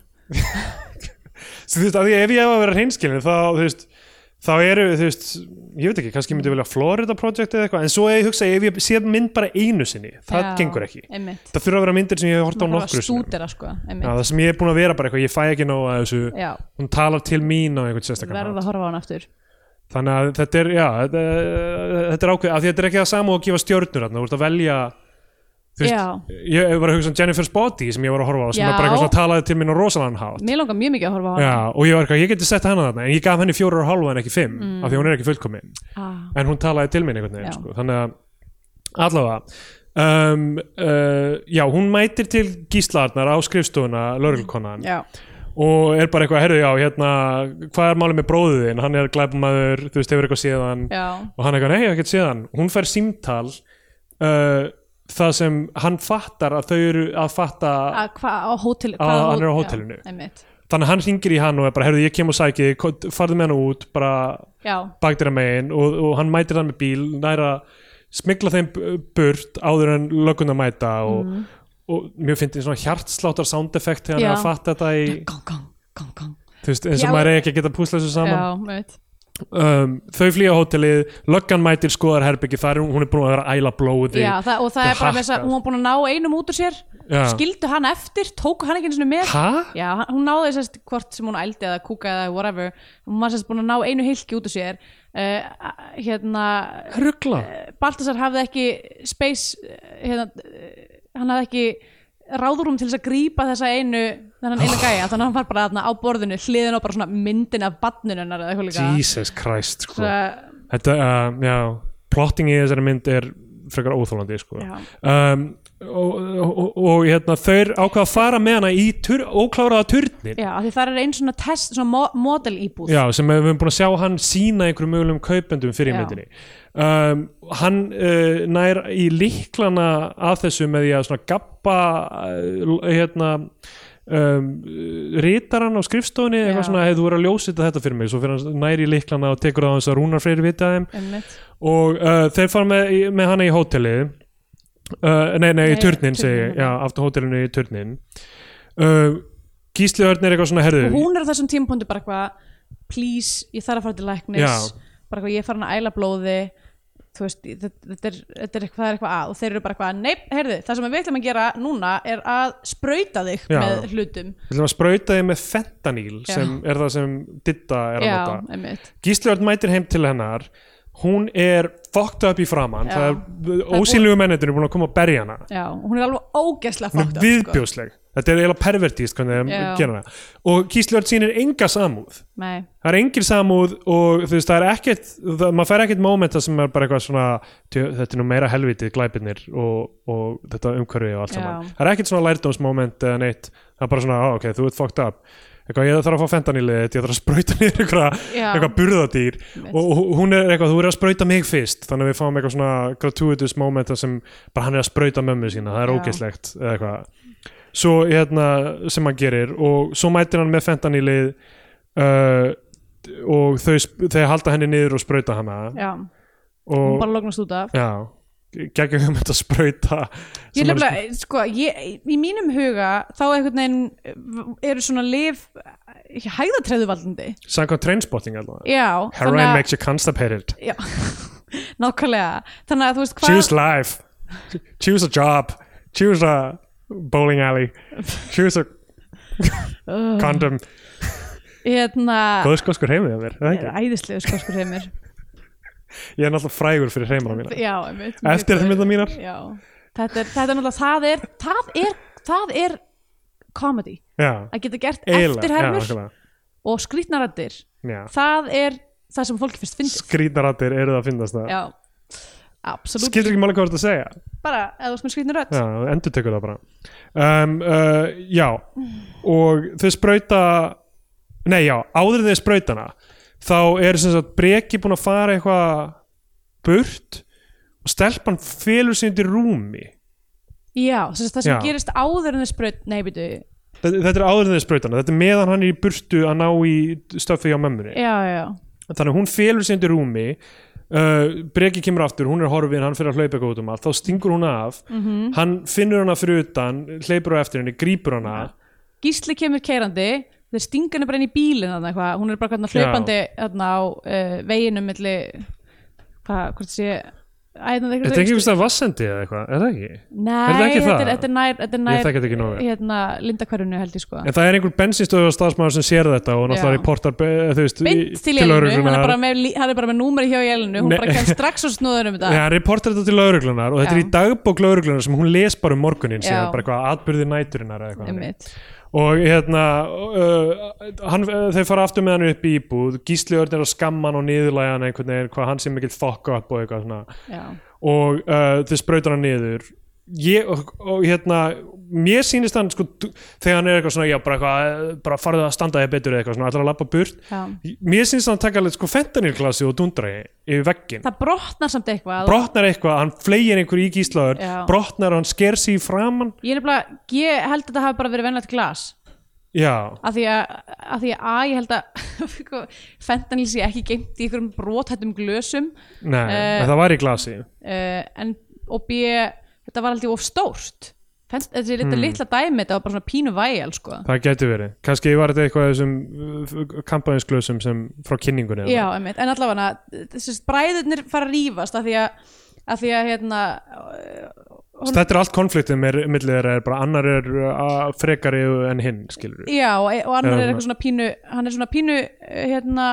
Svo, þú veist, af því ef ég hef að vera hreinskilin þá, þú veist, þá eru þú veist, ég veit ekki, kannski myndi ég velja Florida Project eða eitthvað, en svo ef ég hugsa ef ég sé mynd bara einu sinni, það Já, gengur ekki einmitt. það þurfa að vera myndir sem ég hef hort á Maður þarf að nokkru sinni stúdera sko, Já, einmitt það sem ég er búin að vera bara eitthvað, ég fæ ekki nóg að þessu Já, hún talar til mín á einhvern sérstakann verður hátt að horfa á hann aftur þannig að þetta er, já, þetta, þetta er ákveð af því þetta er ekki það sama og að gefa stjörnur þarna, þú ert að velja þú veist, ég var að hugsa um Jennifer's Body sem ég var að horfa á sem Já. er bara eitthvað svona talaði til mín á rosalann hátt Mér langar mjög mikið að horfa á já, hann og ég var eitthvað, ég geti sett hana þarna en ég gaf henni fjórar og hálfa en ekki fimm af því hún er ekki fullkomin ah, en hún talaði til mín einhvern Mm. veginn Já. sko. þannig að allavega um, uh, já, hún mætir til gíslarnar á skrifstofuna laurulkonan Já, og er bara eitthvað, herðu já, hérna hvað er málið með bróðið þinn, hann er glæpumæður þú veist, hefur eitthvað síðan já, og hann eitthvað, nei, ekkert síðan, hún fær símtal uh, það sem hann fattar að þau eru að fatta að hvað á hótel Að hvaða hann er á hó- hótelinu. Já, einmitt þannig að hann hringir í hann og er bara, herðu, ég kem og sæki þig, ko- farðu með hann út, bara Já, baktir að megin og, og hann mætir hann með bíl, næra smikla þeim bu- burt áður en löguna mæta og, og, mjög fyndið svona hjartsláttar sound effect þegar hann Mm. Já. er að fatta þetta í, gang, gang, gang, gang þú veist, eins og Já. maður er ekki að geta púsla þessu saman Já, einmitt um, þau flýja á hótelið löggan mætir skoðar herbyggi þar er hún, hún er búin að vera að æla blóði Já, það, og það það er bara með þess að hakkar. hún var búin að ná einum út úr sér Já. skildu hann eftir, tóku hann ekki einu sinni með Hæ? Já, hann- hún náði sérst hvort sem hún ældi eða kúka eða whatever hún var sérst búin að ná einu hilki út úr sér uh, hérna Ruggla? Eh, Baltasar hafði ekki space eh, hérna, eh, hann hafði ekki ráðurum til þess að grípa þessa einu þennan eina gæja, þannig að hann var bara þarna á borðinu hliðin á bara svona myndin af badnuninnar eða eitthvað líka Eh, Jesus Christ sko. Svo- þetta, uh, já plotting í þessari mynd er frekar óþólandi sko. Já. um, og, og, og hérna, þau ákvaða að fara með hana í tur, ókláraða turnin Já, af því það er einn svona test, svona mo- model íbúð Já, sem við höfum búin að sjá hann sína einhverjum mögulegum kaupendum fyrir Já. í myndinni um, hann uh, nær í líklana að þessu með því að svona gappa uh, hérna um, rítaran á skrifstofunni Já. eitthvað svona, hefur þú verið að ljósita þetta fyrir mig svo fyrir hann nær í líklana og tekur það á þess að Rúnar Freyri vita af þeim Einmitt. og uh, þeir fara með, með hana í hótelið uh, nei, nei, Nei, í turnin turninn, segi, ég. já. já, aftur hótelinu í turnin uh, Gísliörn er eitthvað svona herðu og hún er á þessum tímpunktu bara eitthvað please, ég þarf að fara til læknis Já. bara eitthvað, ég er farin að æla blóði þú veist, þetta, þetta, er, þetta er eitthvað það er eitthvað að og þeir eru bara eitthvað, neip, heyrðu það sem við ætlum að gera núna er að sprauta þig Já. með hlutum Við ætlum að sprauta þig með fentaníl Já. sem er það sem Ditta er að já, nota. einmitt Gísliörn mætir heim til hennar hún er fucked up í framann Já. það er er búið- ósýnlegu mennetinu búin að koma að berja hana já, og hún er alveg ógeðslega hún fucked up, er sko. viðbjóðsleg þetta er eiginlega pervertíst hvernig Já. það gera hana og Gísliörn sýnir enga samúð Nei, það er engin samúð og þú veist það er ekkert það, maður fær ekkert mómenta sem er bara eitthvað svona "Djö, þetta er nú meira helvitið glæpirnir og, og þetta umhverfi og allt Já. saman það er ekkert svona lærdómsmoment eða neitt það er bara svona, "Ó, ok, þú ert fucked up eitthvað, ég þarf að fá fentanilið þitt, ég þarf að sprauta niður eitthvað, Já. eitthvað burðadýr Einmitt. og og hún er eitthvað, þú er að sprauta mig fyrst þannig að við fáum eitthvað svona gratuitous momenta sem bara hann er að sprauta mömmu sína það Já. er ógeðslegt eða eitthvað svo, hérna, sem hann gerir og svo mætir hann með fentanilið uh, og þau, sp- þau halda henni niður og sprauta hana já, hún og, bara lognast út af já, geggjum við með þetta sprauta Ég sem hann- nefnilega, sko, ég, í mínum huga þá einhvern veginn eh, eru svona lif hæðatreðuvaldandi samkvæmt trainspotting allavega Já, heroin makes you constipated Já, nákvæmlega Þannig að þú veist hvað choose life choose a job choose a bowling alley choose a condom hérna, góð skoskur heimið að mér er það er ekki? æðislegu skoskur heimir ég er náttúrulega frægur fyrir heimara mína Já, einmitt Eftir þessar mynda mínar? Já, þetta er, þetta er náttúrulega það er, það er, það er comedy, já, að geta gert eiginlega, eftirhermur já, nákvæmlega. og skrýtnarættir Já. það er það sem fólki fyrst fyndið skrýtnarattir eru það að finnast það Já, absolutt skilur ekki máli hvað þú ert að segja bara, eða þú veist með skrýtnarödd já, endur tekur það bara um, uh, já og þau sprauta nei já, áður en þau sprautana þá er sem sagt breki búin að fara eitthvað burt og stelpan félur sér undir rúmi Já, sem sagt það sem Já. gerist áður en þess braut, nei, byrju Já, þetta, þetta er áður en þau sprautana þetta er meðan hann er í burtu að ná í stöfið hjá mömmunni já, já þannig að hún félur sér undir rúmi uh, breki kemur aftur, hún er horfin hann fyrir að hlaupa eitthvað út um allt, þá stingur hún af -hmm. hann finnur hana fyrir utan hleypur á eftir henni, grípur hana Gísli kemur keirandi þeir stinga henni bara inn í bílinn þarna eitthvað hún er bara hvernig Já. hlaupandi þarna á uh, veginum milli hvað, hvort sé Æ, Þetta er ekki einhvers veginn vassendi eða eitthvað, er það ekki? Nei, er það ekki þetta, það? er, þetta er nær, þetta er Ég nær þekki þetta ekki nógu vel. hérna, lindakvarunni held ég sko En það er einhver bensinstöðu starfsmaður sem sér þetta og náttúrulega Já. reportar be- eh, þú veist, Bind í- til Jelinu, hann er lögreglunnar. bara með, lí- hann er bara með númeri hjá Jelinu hún Nei. bara kemst strax á snúður um þetta Já, hann reportar þetta til lauruglunar og þetta Já. er í dagbók lauruglunar sem hún les bara um morgunin Já. síðan, bara eitthvað atbyrði næturinnar eða eitthvað. þannig. Einmitt. og hérna uh, hann, uh, þau fara aftur með hann upp í íbúð Gísli Örn er að skamma hann og niðurlæga hann einhvern veginn, hvað hann sé mikill fuck up og eitthvað svona Já. og uh, þau sprautar hann niður ég, og, og hérna mér sýnist hann sko d- þegar hann er eitthvað svona, já bara eitthvað eh, bara farðu að standa þér betur eða eitthvað svona, ætlar að labba burt Já. mér sýnist hann taka alveg sko fentanilglasi og dundra í- yfir veggin það brotnar samt eitthvað brotnar eitthvað, hann fleygir einhver í Gísla Örn Já. brotnar og hann sker sig í framann ég, nefnilega, ég held að þetta hafi bara verið venlegt glas já, að því að, að því að, að ég held að fentanil sé ekki geimt í einhverjum brothættum glösum nei, Eh, það var í glasi uh, en og B, þetta var alltaf of stórt Fenst, þessi litla, litla dæmi, þetta var bara svona pínu vægjál sko. það gæti verið, kannski var þetta eitthvað af þessum kampaðinsglösum sem frá kynningunni Já, einmitt, en allavega þessi bræðurnir fara að rífast af því að, af því að hérna, Hún... Þetta er allt konfliktum er, millir þeirra er bara annar er uh, frekari en hinn, skilur við. já, og og annar er Já, eitthvað svona pínu hann er svona pínu hérna,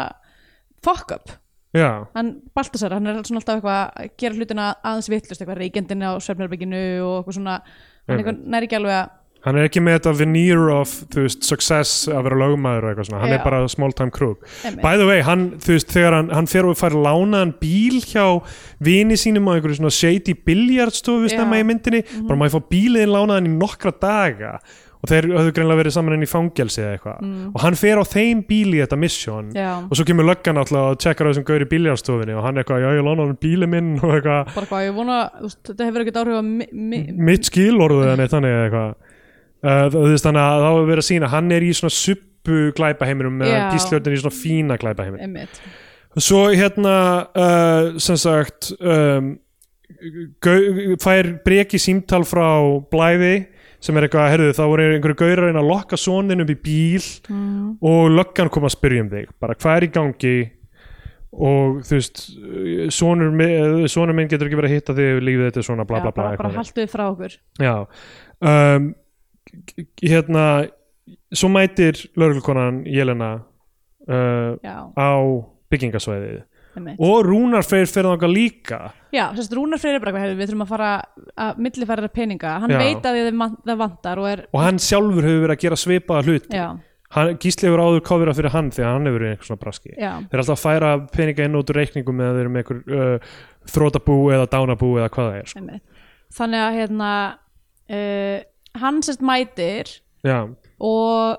fuck up Já, hann Baltasar, hann er svona alltaf eitthvað að gera hlutina aðeins vittlust, eitthvað reykendin á svefnherbygginu og eitthvað svona hann Einmitt. eitthvað næri ekki alveg að hann er ekki með þetta veneer of, þú veist, success að vera lögmaður og eitthvað svona, hann Já. er bara small time crook. Einmitt. By the way, hann, þú veist, þegar hann, hann fer og fær lánaðan bíl hjá vini sínum á einhverju svona shady biljardstofu Já. Mhm. stemma í myndinni, bara má ég fá bíliðin lánaðan í nokkra daga og þeir höfðu greinlega verið saman enn í fangelsi eða eitthvað og hann fer á þeim bíl í þetta mission Mhm. Já. Mm. og svo kemur löggan alltaf og tjekkar á þessum gaur í biljardstofunni og hann eitthvað, já ég lánaði bíli minn og eitthvað bara hvað, ég vona, þú veist, þetta hefur ekkert áhrif að mi, mi, mitt skilorðu eða neitt þannig eða eitthvað uh, þú veist þannig að þá hefur verið að sína hann er í svona suppu glæpaheiminum meðan Já. gísljóttin er í svona fína glæpaheiminum einmitt, svo hérna uh, sem sagt um, gau- fær breki símtal frá blæði sem er eitthvað, herðu þá voru einhverju gaurar að reyna að lokka sonin upp í bíl Mm. og löggan kom að spyrja um þig bara hvað er í gangi og þú veist sonur, mi- sonur minn getur ekki verið að hitta þig ef lífið þetta er svona bla já, bla bla bara, bara eitthvað. haltu þið frá okkur Já um, g- g- Hérna Svo mætir lauruglukonan Jelena uh, já, á byggingasvæðið einmitt, og Rúnar Freyr fyrir þangað líka já, sérst Rúnar Freyri er bara, "Heyrðu, við þurfum að fara að millifæra peninga, hann Já. veit að þið man- það vantar og er, og hann sjálfur hefur verið að gera svipaða hlut já, hann, Gísli hefur áður kofira fyrir hann þegar hann hefur verið í einhver svona braski já Þeir er alltaf að færa peninga inn og út úr reikningum eða þeir eru með einhver uh, þrótabú eða dánabú eða hvað það er sko. einmitt. þannig að hérna uh, hann sérst mætir Já, og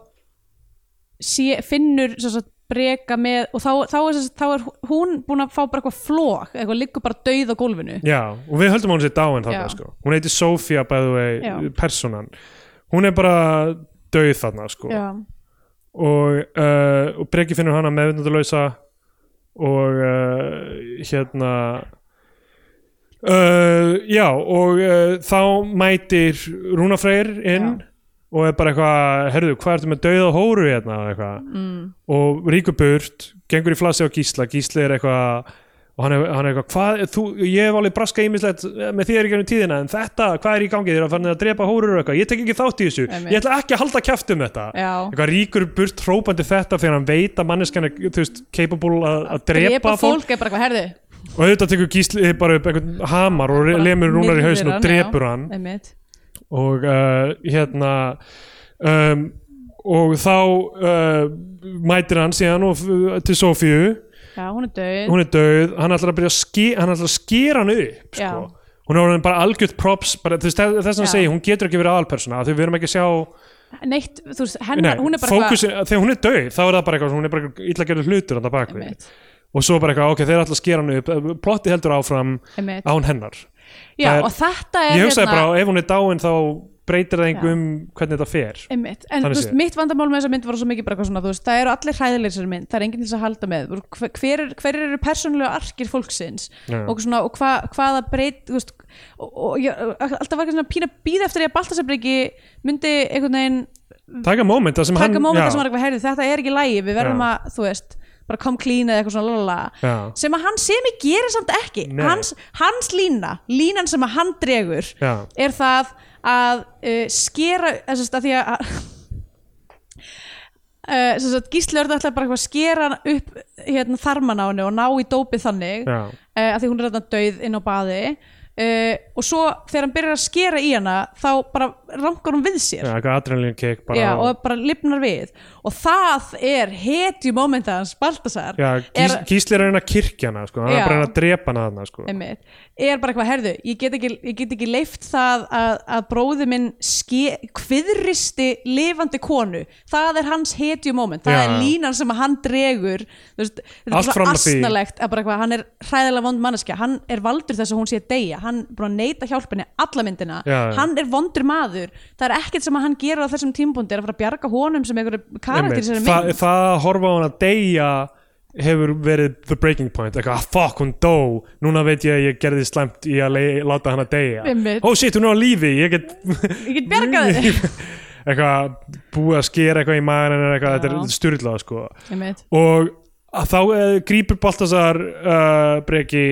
sé, finnur sem sagt, breka með og þá, þá, er, sem sagt, þá er hún búin að fá bara eitthvað flók eitthvað liggur bara dauð á gólfinu já, og við höldum að hún sér dáin Já. þarna sko. Hún heiti Sofía by the way, Já. personan Hún er bara döið þarna sko. já, og, uh, og Breki finnur hana meðvindulausa og uh, hérna uh, já og uh, þá mætir Rúna Freyr inn og er bara eitthvað, herðu, hvað ertu með dauða hóru hérna og eitthvað mm. og ríkur burt, gengur í flassi á Gísla Gísli er eitthvað og hann er, hann er eitthvað, hvað, þú, ég hef alveg braska ímislegt með þér í gegnum tíðina en þetta, hvað er í gangi, þér er að fara að drepa hórur og eitthvað ég tek ekki þátt í þessu, Einmitt. ég ætla ekki að halda kjæft um þetta já eitthvað ríkur burt hrópandi þetta þegar hann veit að manneskjan er þú veist, capable að, að drepa, fólk. er bara eitthvað herði og auðvitað tekur Gísli eh, bara upp einhvern hamar og bara lemur rúnar í myrðir hausin og hann, drepur já. hann einmitt og uh, hérna um, og þá uh, mætir hann síðan og, uh, til Sofíu já, hún er dauð hún er döð, hann ætlar að byrja að, ske, hann ætlar að skera hann upp Já. sko. hún er orðin bara algjört props bara, þess að hann Já. segi, hún getur ekki verið aðalpersona af því við erum ekki að sjá neitt, þú veist, hennar, hún er bara fókusin, þegar hún er döið þá er það bara eitthvað, hún er bara eitthvað illa gerður hlutur þarna bak við. einmitt, og svo bara eitthvað, ok, þeir ætla að skera hann upp eh, plotti heldur áfram einmitt. hérna- án hennar já, það er- og þetta er ég hugsaði bara, ef hún er dáin þá breytir það einhver um hvernig þetta fer Einmitt. En Þannig þú veist, séð. mitt vandamál með þessa mynd var svo mikið bara eitthvað svona, þú veist, það eru allir hræðilegir sér mynd, það er enginn til þess að halda með Þú veist, hver, hver, er- hver eru persónulega arkir fólksins Já. og, svona, og hva, hvaða breyt þú veist, og, og ég, alltaf var ekki svona pína býð eftir því að Baltasarbreki myndi einhvern veginn taka moment, það sem taka hann mómenta já, sem var eitthvað herrið, þetta er ekki lægi við verðum Já. að, þú veist, bara come clean eða eitthvað svona lalala já, sem að hann sem ég gerir samt ekki Nei. hans, hans lína, línan sem að hann dregur já, er það að uh, skera þess að því að Uh, sagt, Gísli Örn ætlaði bara eitthvað að skera upp hérna, þarman á henni og ná í dópið þannig já, uh, að því hún er þarna döið inn á baði uh, og svo þegar hann byrjar að skera í hana þá bara rankar hún við sér já, eitthvað adrenalin kick bara, Já, á- og bara lifnar við og það er hetju momentans Baltasar já, gís, er- gísli er að reyna að kirkja hana sko, hann er Já. bara að reyna að drepa hana þarna sko. einmitt, er bara eitthvað herðu ég get ekki, ég get ekki leift það að, að bróði minn ske, kviðristi lifandi konu það er hans hetju moment það Já, er já. línan sem að hann dregur þú veist, þetta Allt er svo fram að því. asnalegt að bara eitthvað, hann er hræðilega vond manneskja hann er valdur þess að hún sé að deyja hann er búin að neita hjálpinni alla myndina Já, já. hann er vondur maður það er ekkert sem að hann gerir á þessum tímbúndi er að fara að bjarga honum sem einhverju karakter í Einmitt. þessari Þa, mynd það að horfa á hann að deyja hefur verið the breaking point eitthvað, ah, fuck, hún dó, núna veit ég að ég gerði slæmt í að le- láta hana deyja Einmitt. oh shit, hún er á lífi, ég get Ég get bjargað þér. eitthvað, búið að skera eitthvað í maður eitthvað, þetta Já. er styrlað sko Einmitt. og að þá uh, grípur Baltasar uh, breki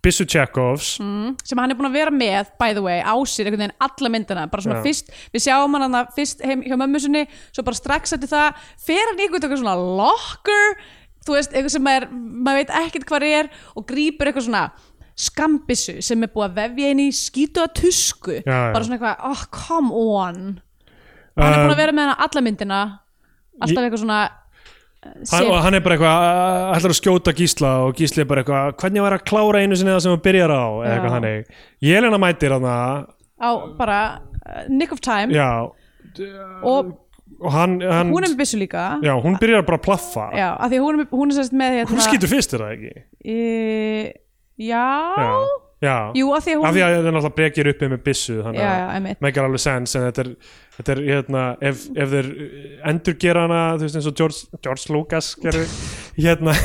Bissu Tjekovs Mm, sem hann er búin að vera með by the way á sér einhvern veginn alla myndina bara svona Já. fyrst, við sjáum hann hann fyrst heim hjá mömmu sinni, svo bara strax eftir það fer hann í einhvern eitthvað svona locker þú veist, eitthvað sem maður, maður veit ekkert hvað er og grípur eitthvað svona skambissu sem er búið að vefja inn í skítuða tusku Já, já. bara svona eitthvað, oh come on hann er búin Um, að vera með hann alla myndina alltaf eitthvað svona eh, hann, sef- og hann er bara eitthvað, uh, ætlar að skjóta Gísla og Gísli er bara eitthvað, hvernig var að klára einu sinni það sem hann byrjar á, eða Já. eitthvað hannig Jelena mætir hann á bara eh, nick of time já, og og hann, hann hún er með byssu líka já, hún byrjar bara að plaffa Já, af því hún, er- hún er sérst með hérna, hún skýtur fyrst er það ekki e, já, já, já. Jú, af því að hún af því að það er náttúrulega brekir uppi með byssu þannig Já, að já, einmitt. megar alveg sens en þetta er, þetta er hérna, ef, ef þeir endurgera hana þú veist eins og George, George Lucas gerði hérna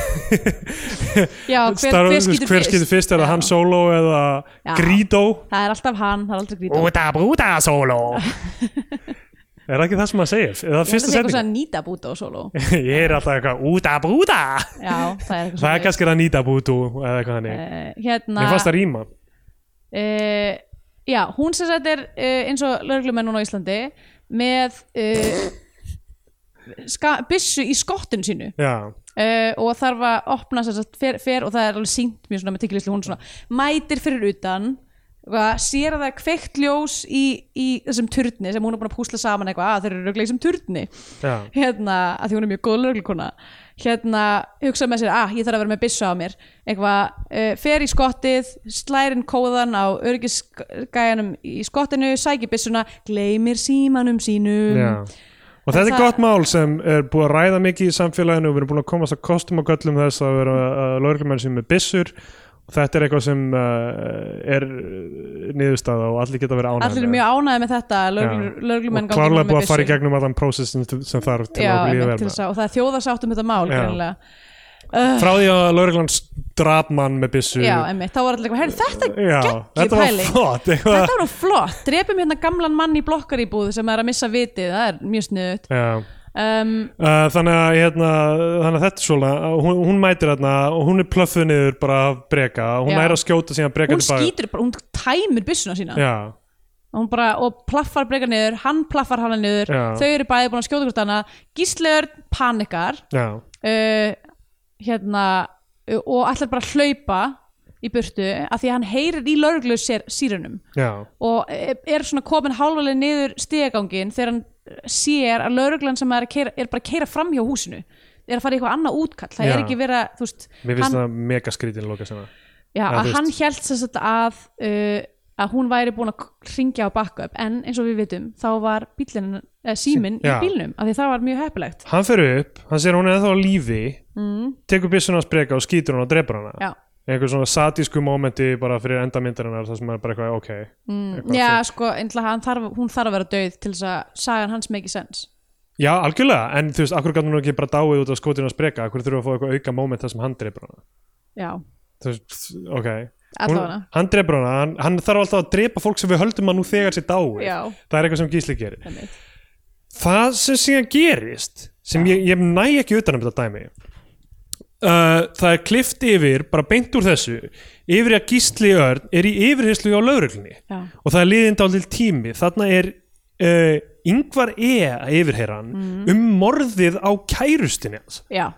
já, hver, Star- hver skýtur hver fyrst, skýtur fyrst er Já. það hann solo eða Já. Greedo Það er alltaf hann, það er aldrei grító Búta búta solo er það ekki það sem maður segir eða það fyrsta setning setning Nýta búta og solo ég er alltaf eitthvað úta búta Já, það er eitthvað það er kannski það nýta bútu eða eitthvað hannig uh, Hérna mér fannst það rýma uh, Já, hún sem sagt er uh, eins og lögreglumenn núna á Íslandi með uh, ska, byssu í skottinu sínu já uh, og þarf að opna sem sagt, fer, fer og það er alveg sínt mjög svona með tigglislu hún svona mætir fyrir utan eitthvað, sér að það er kveikt ljós í, í þessum turni sem hún er búin að púsla saman eitthvað að þeir eru röglega í þessum turni já hérna, að því hún er mjög góð lögleikona hérna, hugsa með sér, ah, ég þarf að vera með byssu á mér eitthvað, uh, fer í skottið slærin kóðan á örgisgæjanum í skottinu sækir byssuna, gleymir símanum sínum Já. Og þetta er Um, það- gott mál sem er búið að ræða mikið í samfélaginu og við erum búin að komast að kostum og göllum þess að vera uh, lauruglumenn sem er byssur og þetta er eitthvað sem uh, er niðurstaða og allir geta verið ánægð allir eru mjög ánæði með þetta lögreglu- lögreglumenn og gangi núna klárlega með búið að fara í byssur. gegnum allan prósess sem, sem þarf til já, að einmitt, til líða vel þess með að- og það er þjóðarsátt um þetta mál Já. greinilega. frá því að lauruglann draf mann með byssu já, einmitt, þá var allir eitthvað, herri þetta Já, þetta var pæling. flott eitthvað. þetta var nú flott, drepum hérna gamlan mann í blokkaríbúð sem er að missa vitið, það er mjög sniðut Já. um, Uh, þannig, að, hérna, þannig að þetta er svona uh, hún, hún mætir þarna og hún er plöffuð niður bara af breka hún Já. nær að skjóta síðan breka hún tilbaka. skýtur bara, hún tæmir byssuna sína Já, og hún bara, og plaffar breyka niður hann plaffar hana niður, Já. þau eru bæði búin að skjóta hvort annað, gíslegur panikar já, uh, hérna uh, og ætlar bara að hlaupa í burtu af því að hann heyrir í lauruglu sírunum já, og eh, er svona komin hálfaleg niður stigagangin þegar hann eh, sér að lauruglan sem er, að keira, er bara að keira fram hjá húsinu er að fara í eitthvað annað útkall það Já. er ekki vera, þú veist mér finnst það mega skrítin loka sinna já, þú að veist. hann held þess að að, uh, að hún væri búin að ringja á backup en eins og við vitum þá var bílinn, eh, síminn í Já. bílnum af því það var mjög heppilegt Hann fer upp, hann sér að hún er ennþá á lífi mm. tekur byssuna hans breka og skýtur hann og drepur hana já, einhver svona sadísku mómenti bara fyrir endamyndarinnar þar sem maður bara eitthvað ok eitthvað já fínt. sko, ennlega hann þarf, hún þarf að vera döið til þess að sagan hans make sense já, algjörlega, en þú veist, akkur gætum hún ekki bara dáið út af skotinu hans breka, akkur þurfa að fá eitthvað auka móment þar sem hann drepur hana já, þú veist, ok hún, allavega hann drepur hana, hann, hann þarf alltaf að drepa fólk sem við höldum að nú þegar sér dáið Já. það er eitthvað sem Gísli gerir einmitt. það sem síðan gerist sem ég, ég næ ekki utan um þetta dæmi uh, það er klift yfir bara beint úr þessu yfir í að Gísli Örn er í yfirheyslu á lauruglunni Já. og það er liðin dálítil tími þarna er uh, yngvar E að yfirheyra hann Mm. um morðið á kærustinni hans já,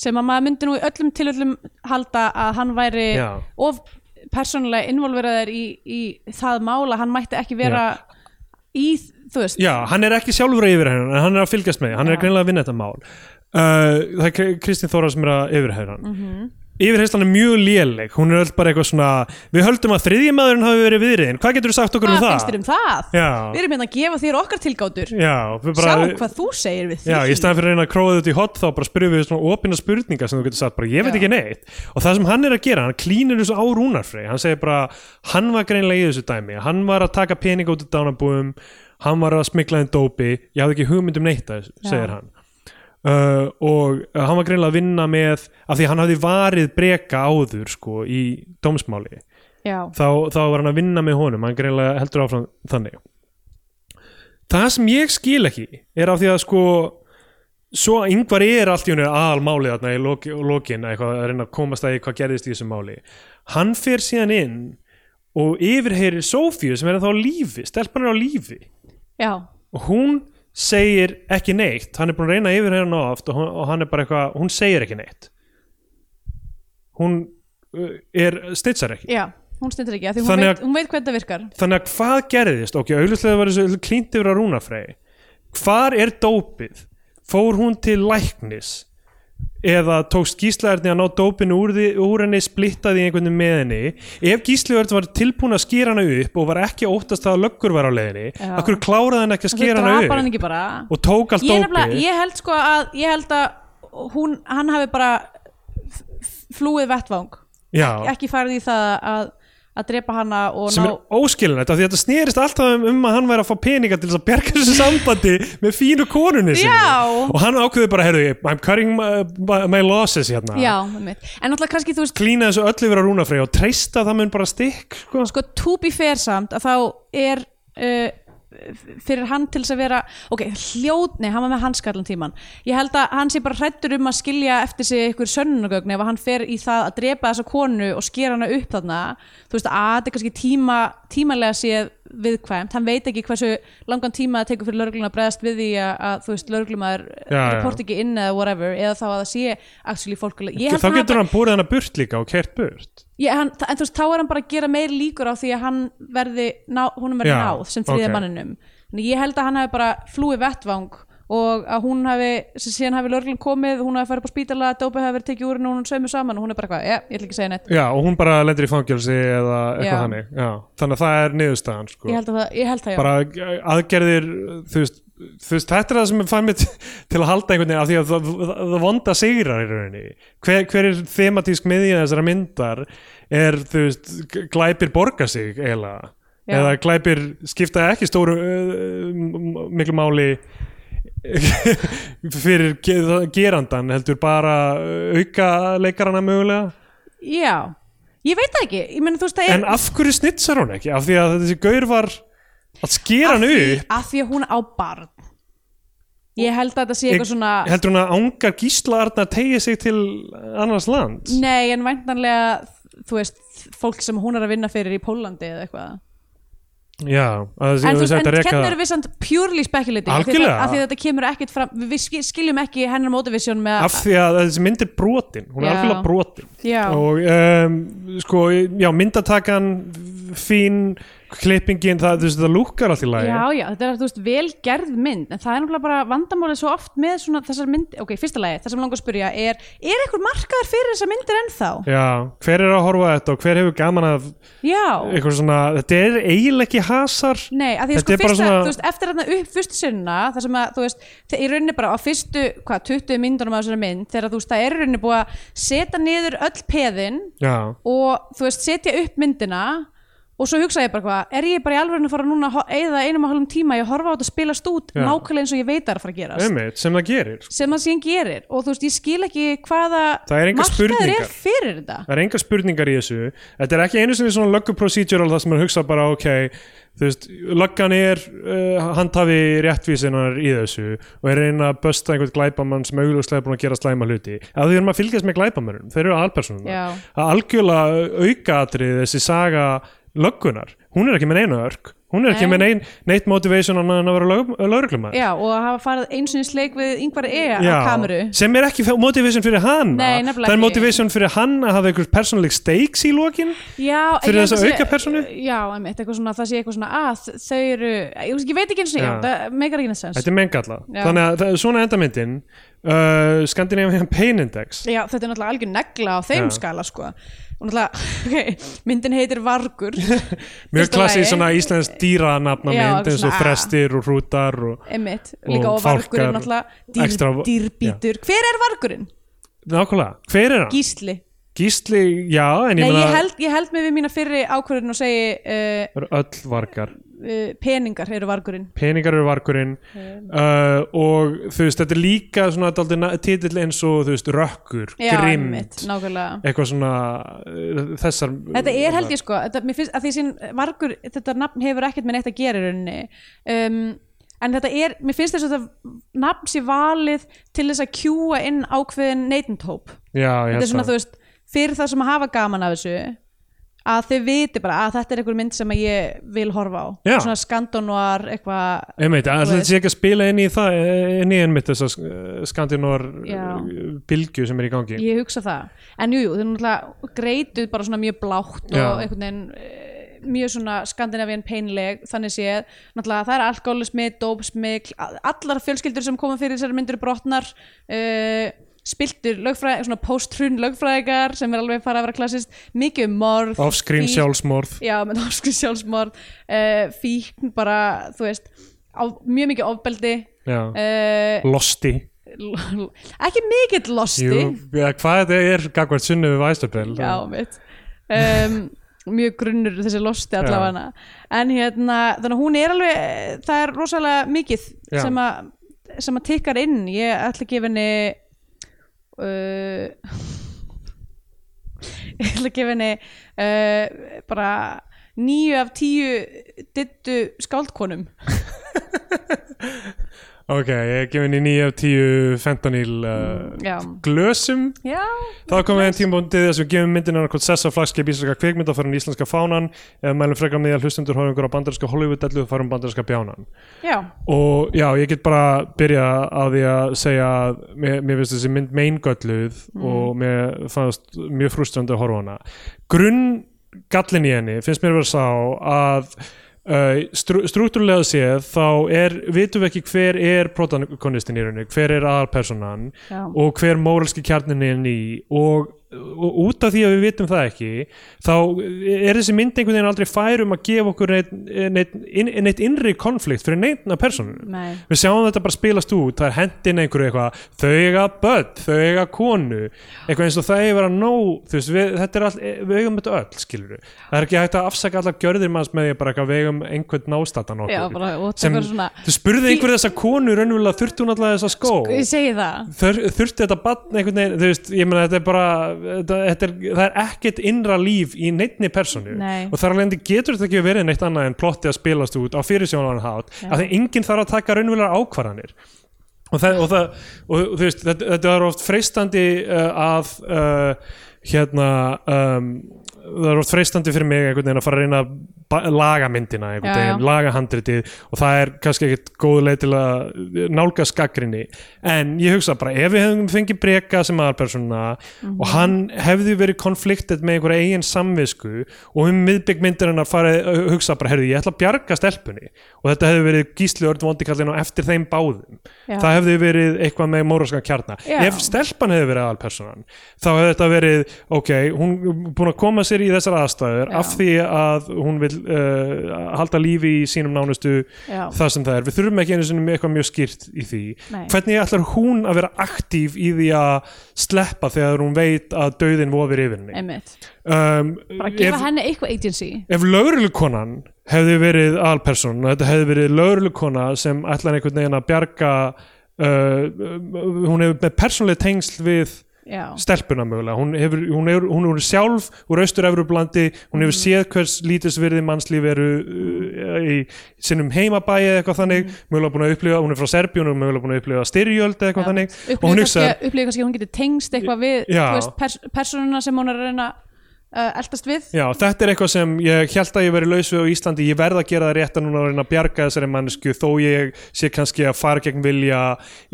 sem að maður myndi nú í öllum tilöllum halda að hann væri Já. of persónulega involveraður í, í það mála, hann mætti ekki vera í, þú veist Já, hann er ekki sjálfur að yfirheyra hann en hann er að fylgjast með, því, hann er Já. greinlega að vinna þetta mál uh, Það er Kri- Kristín Þóra sem er að yfirheyra hann mm Mhm. -hmm. Yfirheyslan er mjög léleg, hún er öll bara eitthvað svona Við höldum að þriðjamaðurinn hafi verið viðriðin, hvað getur þú sagt okkur hvað um það? finnst þér um það? Já. Við erum hérna að gefa þér okkar tilgátur Já, við bara Sjá hvað þú segir við því Já, í staðan fyrir að reyna að króða þetta í hot þá bara spyrjum við svona opina spurningar sem þú getur sagt bara ég veit Já. ekki neitt og það sem hann er að gera, hann klínir þessu á rúnarfrey hann segir bara, hann var greinlega í þessu dæmi hann var að taka pening út í dánabúum hann var að smikla þeim dópi ég hafði ekki hugmynd um neitt að þessu, Já. segir hann uh, og uh, hann var greinlega að vinna með af því að hann hafði varið breka áður sko í dómsmáli já, þá, þá var hann að vinna með honum hann greinlega heldur áfram þannig það sem ég skil ekki er af því að sko svo yngvar er allt í hennu aðalmálið þarna í loki, lokin eitthvað, að reyna að komast að því hvað gerðist í þessu máli hann fer síðan inn og yfirheyrir Sofíu sem er þá á lífi, stelpan er á lífi já, og hún segir ekki neitt hann er búin að reyna yfir hérna oft og hún, og hann er bara eitthvað, hún segir ekki neitt hún uh, er, stitsar ekki já hún stundur ekki, af því hún Þannig veit, að- hún veit hvernig það virkar þannig að hvað gerðist, ok, auðvitað var þessu klínt yfir að rúnafrei hvar er dópið, fór hún til læknis eða tókst gíslaðarni að ná dópinu úr, því, úr henni splittaði í einhvern veginn með henni ef gíslaðarni var tilbúin að skýra hana upp og var ekki að óttast það að löggur var á leiðinni Já. akkur kláraði hann ekki að Af því skýra hana drapar upp hann ekki bara og tók allt ég, er nefnilega- dópið ég held sko að ég held að hún, hann hafi bara f- f- flúið vettvang Já. ekki farið í það að, að drepa hana og sem ná er óskilinætt af því að þetta snerist alltaf um, um að hann væri að fá peninga til þess að berga þessu sambandi með fínu konunni sinni Já. og hann ákveði bara, heyrðu, I'm cutting my, my- my losses hérna já, einmitt. en náttúrulega kannski þú veist klína þessu öll yfir á rúnafrey og treysta að það mun bara stikk sko. sko to be fair samt að þá er uh, fyrir hann til þess að vera ok, hljóðni, hann var með hanskallan tíman ég held að hann sé bara hrættur um að skilja eftir sig ykkur sönnunagögn ef hann fer í það að drepa þessa konu og skera hana upp þarna, þú veist að þetta er kannski tíma, tímanlega séð viðkvæmt, hann veit ekki hversu langan tíma það tekur fyrir lögreglun að bregðast við því að, að þú veist lögreglumar Já, já. report ekki inn eða whatever, eða þá að það sé actually fólk, ég held þá að hann- getur hann búið hann að burt líka og kert burt Já, hann, þa- en þú veist, þá er hann bara að gera meir líkur á því að hann verði, ná, húnum verði Já, náð sem þriðja ok. manninum. Þannig ég held að hann hafi bara flúið vettvang og að hún hafi, sem síðan hafi lörglinn komið, hún hafi farið upp á spítala, dópið hafi verið tekið úr henni og hún sömu saman og hún er bara eitthvað, já, ég ætla ekki að segja neitt. Já, og hún bara lendir í fangilsi eða eitthvað Já. hannig Já. þannig að það er niðurstaðan sko. Ég held að það, ég held það, já. bara eh, aðgerðir þú veist, þú veist, þetta er það sem er fæmið til að halda einhvern veginn af því að það, það, það vonda sigrar í rauninni hver, hver er thematísk miðja þessara myndar er þú veist g- glæpir borga sig eiginlega Já. eða glæpir skipta ekki stóru uh, miklu máli fyrir ge- gerandan heldur bara auka leikarana mögulega Já, ég veit það ekki, ég meina þú veist, það er... en af hverju snitsar hún ekki af því að þessi gaur var að skera hann upp Af því að hún á barn. Ég held að þetta sé eitthvað svona... heldur hún að ángar gísla Arna tegja sig til annars lands Nei, en væntanlega, þú veist, fólk sem hún er að vinna fyrir í Pólandi eða eitthvað. já, að þessi- en þú þessi veist, hægt að en reka hvernig það. erum við samt purely speculating af því að- Algjörlega. af því að þetta kemur ekkit fram við- við skil- skiljum ekki hennar motivation með af því að þessi mynd er brotin hún er Já. algjörlega brotin já, og um, sko, já, myndatakan fín, klippingin það, þú veist, það lúkkar allt í lagi já, já, þetta er þú veist velgerð mynd en það er náttúrulega bara vandamálið svo oft með svona þessar mynd, ok, fyrsta lagi, það sem langar að spyrja er, er einhver markaður fyrir þessar myndir ennþá? Já, hver er að horfa á þetta og hver hefur gaman að Já, eitthvað svona, þetta er eiginlega ekki hasar nei, af því að Þetta sko er bara fyrsta, svona- þú veist, eftir þarna upp fyrstu sinna, það sem að, þú veist, þe- í rauninni bara á fyrstu, hvað, 20 myndunum á þessari mynd, þegar þú veist, það er í rauninni búið að setja niður öll peðin já, og þú veist setja upp myndina og svo hugsa ég bara hvað, er ég bara í alveg að fara núna að eða einum og hálfum tíma í að horfa á þetta að spila stút Já. nákvæmlega eins og ég veit að það er að fara að gerast einmitt, sem það gerir sko. sem það síðan gerir og þú veist ég skil ekki hvaða Það er engar markaður spurningar. er fyrir þetta það er engar spurningar í þessu þetta er ekki einu sinni svona löggu procedural það sem maður hugsa bara ok þú veist, löggan er uh, handhafi réttvísinnar í þessu og er að reyna að bösta einhvern glæpamann sem augljóslega er búin að gera slæma hluti að því erum að fylgjast með glæpamönnum, þeir eru aðalpersonum Já. að algjörlega aukaatrið þessi saga löggunar hún er ekki með neina örk hún er ekki Nei. með nein, neitt motivation annað en að vera lögreglumar Já, og að hafa farið einsunni sleik við yngvar E á kameru sem er ekki motivation fyrir hann Nei, nefnilega það er ekki. motivation fyrir hann að hafa einhver personleg stakes í lokin Já, ég held Fyrir þessa að sé- aukapersónu? Já, einmitt, eitthvað svona, það sé eitthvað svona að þau eru, ég, veist- ég veit ekki eins og Já. ég, það meikar ekki neinsens Þetta er menngalla Já. Þannig að það, svona endamyndin uh, Scandinavian Pain Index Já, þetta er náttúrulega algjör negla á þeim Já. skala sko. og náttúrulega, ok, myndin heitir Vargur Mjög Fyrsta klassið lagi. svona íslensk dýranafna Já, mynd eins og svona, ah. frestir og hrútar og Einmitt, Og líka og Vargur fálkar, er náttúrulega dýr, extra- dýrbítur Hver er Vargurinn? nákvæmlega, hver er hann? Gísli Gísli, já, en Nei, ég ég meina held, ég held með við mína fyrri ákvörðin og segi uh, það eru öll vargar uh, peningar eru vargurinn peningar eru varkurinn uh, og þú veist, þetta er líka svona titill eins og þú veist, rökkur einmitt, grimmt, nákvæmlega eitthvað svona uh, þessar Þetta er held ég sko, þetta, mér finnst að því sín vargur, þetta nafn hefur ekkert með neitt að gera í rauninni um, en þetta er, mér finnst þess að þetta nafn sé valið til þess að kjúa inn ákveðin neytendhóp já, sko. þetta er svona þú veist, fyrir það sem hafa gaman af þessu að þau viti bara að þetta er einhver mynd sem að ég vil horfa á Já. svona skandonoar eitthvað Einmitt, veist. alltaf þetta sé ekki að spila inn í það inn í einmitt þessar skandinóar Já. eh, bylgju sem er í gangi Ég hugsa það, en jú, jú, þau náttúrulega greituð bara svona mjög blátt Já. og einhvern veginn eh, mjög svona skandinavíðan peinleg þannig séð, náttúrulega það er alkoholismi dópsmi, allar fjölskyldur sem koma fyrir þessari myndir brotnar uh, spiltur lögfræðingar svona post-trun lögfræðingar sem er alveg fara að vera klassist, mikið um morð Offscreen fíkn- sjálfsmorð já, með ofskrið sjálfsmorð uh, fíkn bara, þú veist á, mjög mikið ofbeldi já. uh, Losti ekki mikill losti Jú, ja, hvað þetta er gagvart sunnu við Væstabell já, mitt um, mjög grunnur þessi losti allavega en hérna, þannig að hún er alveg það er rosalega mikið Já. sem að, sem að tikkar inn ég ætla að gefa henni uh, ég ætla að gefa henni uh, bara níu af tíu dittu skáldkonum Ok, ég gef henni 9 af 10 fentanyl uh, já, glösum já Þá komum við einn tímabóndið þess að við gefum myndin annarkot sessa flagskip íslenska kvikmynda farin íslenska fánan eða mælum frekar með því að hlustendur horfum ykkur á bandarinska Hollywood-dellu og farum bandarinska bjánan já, og já, ég get bara byrja á því að segja að mér, mér finnst þessi mynd meingölluð og mér fannst mjög frústrandi að horfa á hana grunn gallin í henni finnst mér vera sá að Uh, strú, struktúrlega séð þá er, vitum við ekki hver er protagonistin í rauninni, hver er aðalpersonan já, og hver móralski kjarnin er ný og, og út af því að við vitum það ekki þá er þessi mynd einhvern veginn aldrei fær um að gefa okkur neitt, neitt, inn, neitt innri konflikt fyrir neitna persónu nei við sjáum þetta bara spilast út, það er hendin einhverju eitthvað, þau eiga börn, þau eiga konu, eitthvað eins og það eiga að vera nóg, þú veist, við, þetta er all, við eigum þetta öll, skilur við, það er ekki hægt að afsaka allar gjörðir manns með því að bara eitthvað við eigum einhvern nástatan okkur, já, bara, og sem, það er svona Sko, þú spurði einhver þessa konu raunverulega þurfti hún alltaf þessa skó ég segi það Þur, þurfti þetta bann einhvern veginn, þú veist, ég meina þetta er bara þetta, þetta er, það er ekkert innra líf í neittni personu Nei. og þar alveg getur þetta ekki verið neitt annað en plotti að spilast út á fyrirsjónan hát, af því enginn þarf að taka raunverulega ákvarðanir og, það, og, það, og þú veist, þetta, þetta er oft freistandi uh, að uh, hérna um, það er oft freistandi fyrir mig einhvern veginn að fara að reyna að ba- laga myndina einhvern Já, já. veginn, laga handritið og það er kannski ekkit góð leið til að nálga skaggrinni en ég hugsa bara ef við hefum fengið breka sem aðalpersona Mhm. og hann hefði verið konfliktet með einhverja eigin samvisku og um miðbygg myndirinn að fara að hugsa bara, herðu, ég ætla að bjarga stelpunni og þetta hefði verið gísli örd vondikallin og eftir þeim báðum Já. það hefði verið eitthvað með móralskan kjarna Já. ef stelpan hefði verið aðalpersonan þá hefði þetta verið, ok, hún er búin að koma sér í þessar aðstæður Já. af því að hún vil uh, halda lífi í sínum nánustu já, það sem það er, við þurfum ekki einu sinni með eitthvað mjög skýrt í því, Nei. hvernig ætlar hún að vera aktíf í því að sleppa þegar hún veit að dauðin vofir yfir henni einmitt um, bara gefa ef- henni eitthvað agency ef lögreglukonan hefði verið alperson og þetta hefði verið lögreglukona sem ætlaði einhvern veginn að bjarga uh, hún hefur með persónlega tengsl við já, stelpuna mögulega, hún hefur, hún hefur, hún hefur sjálf úr austur-evrublandi, hún hefur séð hvers lítisverði mannslíf eru uh, í sinnum heimabæi eða eitthvað þannig, mögulega búin að upplifa hún er frá Serbíun og mögulega búin að upplifa styrjöld eða eitthvað þannig og hún upplýði kannski, hugsar upplifir kannski að hún getur tengst eitthvað við Já. þú veist, pers persónuna sem hún er að reyna uh, eldast við Já, þetta er eitthvað sem ég held að ég verið laus við á Íslandi, ég verð að gera það rétt að núna að reyna að bjarga þessari mannesku þó ég sé kannski að fara gegn vilja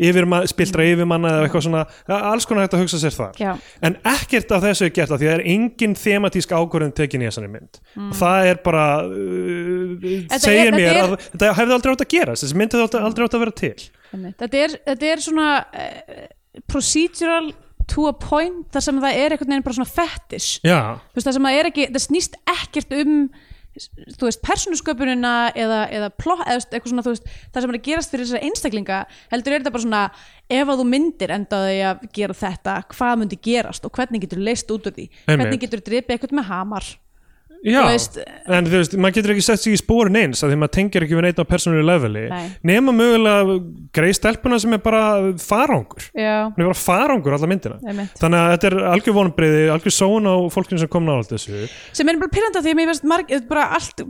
yfirmann, spildra yfirmanna eða eitthvað svona, það er alls konar hægt að hugsa sér þar Já. en ekkert af þessu er gert af því að það er engin thematísk ákvörðun tekin í þessari mynd það er bara uh, Mm. Þetta segir er- þetta mér er- að þetta hefði aldrei átt að gerast þessi mynd hefði aldrei- aldrei átt að vera til Einmitt. þetta er, þetta er svona uh, procedural to a point þar sem það er einhvern veginn bara svona fetish Já, þú veist það sem það er ekki, það snýst ekkert um þú veist, persónusköpunina eða, eða plott, eða þú veist, eitthvað svona þú veist, það sem er að gerast fyrir þessar einstaklinga heldur er þetta bara svona, ef að þú myndir endaði að gera þetta, hvað myndi gerast og hvernig getur leist út úr því Einmitt. hvernig getur dripið eitthvað með hamar Já, Þú veist- eh, en þú veist, maður getur ekki sett sig í spórin eins að því maður tengir ekki við neitt á persónulegu leveli Nei. nema mögulega greið stelpuna sem er bara farangur já, hún er bara farangur alla myndina Einmitt. þannig að þetta er algjör vonbreiði, algjör són á fólkinu sem kom nála þessu sem er bara pyrranda því að mér finnst marg, bara allt,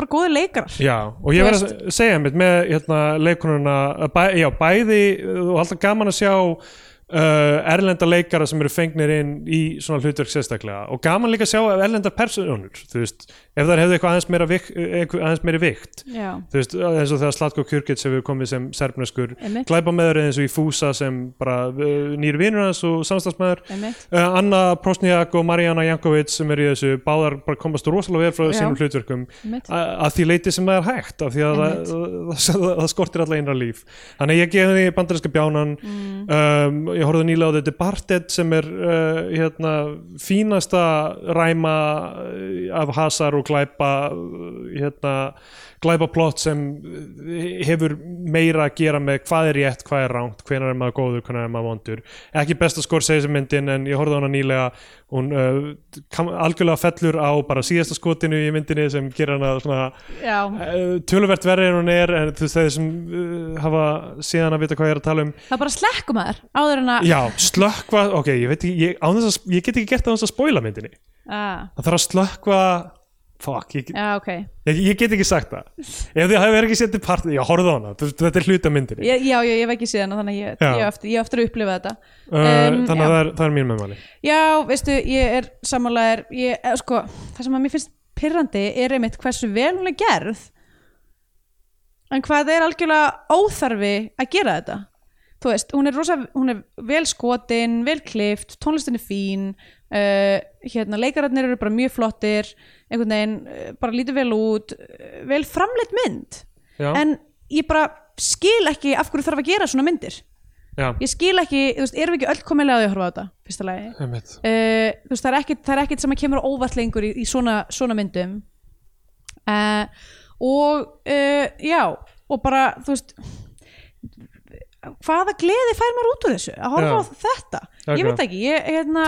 bara góði leikarar Já, og ég Þú verð að segja einmitt með hérna, leikununa, bæ, já, bæði og alltaf gaman að sjá uh, erlenda leikara sem eru fengnir inn í svona hlutverk sérstaklega og gaman líka að sjá erlenda personur þú veist, ef þær hefðu eitthvað aðeins meira vik, eitthvað aðeins meiri vikt já, þú veist, eh, eins og þegar Slatko Kjurkits hefur komið sem serbneskur Einmitt. glæpamæður eins og í Fúsa sem bara uh, nýr vinnur hans og samstagsmæður einmitt Uh, Anna Prosniak og Mariana Jankovic sem er í þessu, báðar bara komast rosalega vel frá Já. sínum hlutverkum Einmitt. a- að því leiti sem það er hægt af því að það, það, það, það skortir alla einra líf þannig að ég geði því bandarinska bjánan um, ég horfði nýlega á þetta Bartet sem er uh, hérna, fínasta ræma uh, af hasar og glæpa uh, hérna, glæpaplott sem uh, hefur meira að gera með hvað er rétt, hvað er rangt hvenær er maður góður, hvenær er maður vondur ekki besta skor segir sem myndin en ég horfði á hana nýlega hún uh, kam, algjörlega fellur á bara síðasta skotinu í myndinni sem gerir hana svona já, uh, töluvert verri en hún er en þú veist þeir sem uh, hafa síðan að vita hvað ég er að tala um það er bara slekkum að þér áður en að já, slökkva, ok, ég veit ekki ég, án þess að, ég get ekki gert það án þess að spoila myndinni Ah, það þarf að slökkva fuck, ég, já, ok ég, ég get ekki sagt það ef þið hafa ekki setið part já, horfðu á hana, þú veist, þetta er hluta myndinni ég, já, já, ég hef ekki séð hana þannig að ég, Já. ég, á eftir, ég á eftir að upplifa þetta uh, um, þannig já. að það er, það er mín meðmæli Já, veistu, ég er sammálaðir ég, eh, sko, það sem að mér finnst pyrrandi er einmitt hversu vel hún er gerð en hvað það er algjörlega óþarfi að gera þetta þú veist, hún er, rosa, hún er vel skotin vel klift, tónlistin er fín uh, hérna, leikararnir eru bara mjög flottir, einhvern veginn uh, bara lítið vel út, uh, vel framleitt mynd, já, en ég bara skil ekki af hverju þarf að gera svona myndir, já, ég skil ekki þú veist, erum við ekki öll komilega að ég horfa á þetta fyrsta lagi einmitt uh, þú veist, það er ekkit, það er ekkit sem að kemur á óvart lengur í, í svona, svona myndum uh, og uh, já, og bara þú veist hvaða gleði fær maður út úr þessu að horfa á þetta, ég Akkurat. veit ekki ég, hérna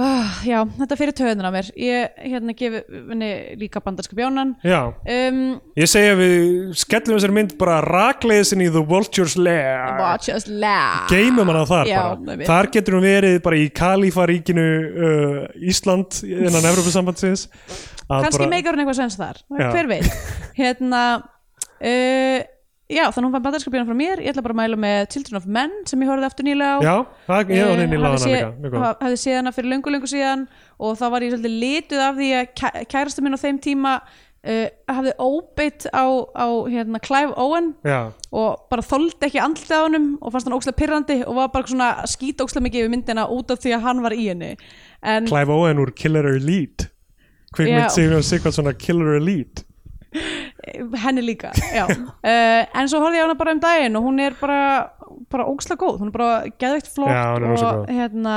uh, já, þetta er fyrir töðunar á mér ég hérna gefi henni líka bandarsku bjónan já, um, Ég segi að við skellum þessari mynd bara rakleiðisinn í The Vulture's Lair watch us laugh Geymum hana þar Já, bara einmitt. Þar getur hún verið bara í Kalífaríkinu uh, Ísland innan Evropasambandsins kannski meikar hún eitthvað sens þar Já. hver veit hérna uh, já þannig hún fann bandarska björn frá mér ég ætla bara að mæla með Children of Men sem ég horfði aftur nýlega á Eh, Já, það, ég var inn í laðana líka Mjög góð. hafði séð hana fyrir löngu löngu síðan og þá var ég svolítið lituð af því að kæ- kærasti minn á þeim tíma uh, hafði óbeitt á, á hérna, Clive Owen Já, og bara þoldi ekki andlitið á honum og fannst hann ókslega pirrandi og var bara svona skýt ókslega mikið yfir myndina út af því að hann var í henni en Clive Owen úr Killer Elite Já. Kvikmynd Sigurjón Sigvaldsson að Killer Elite henni líka já. uh, en svo horfði ég á hana bara um daginn og hún er bara, bara ógsla góð hún er bara geðveikt flott Já, hún er rosa og góð. hérna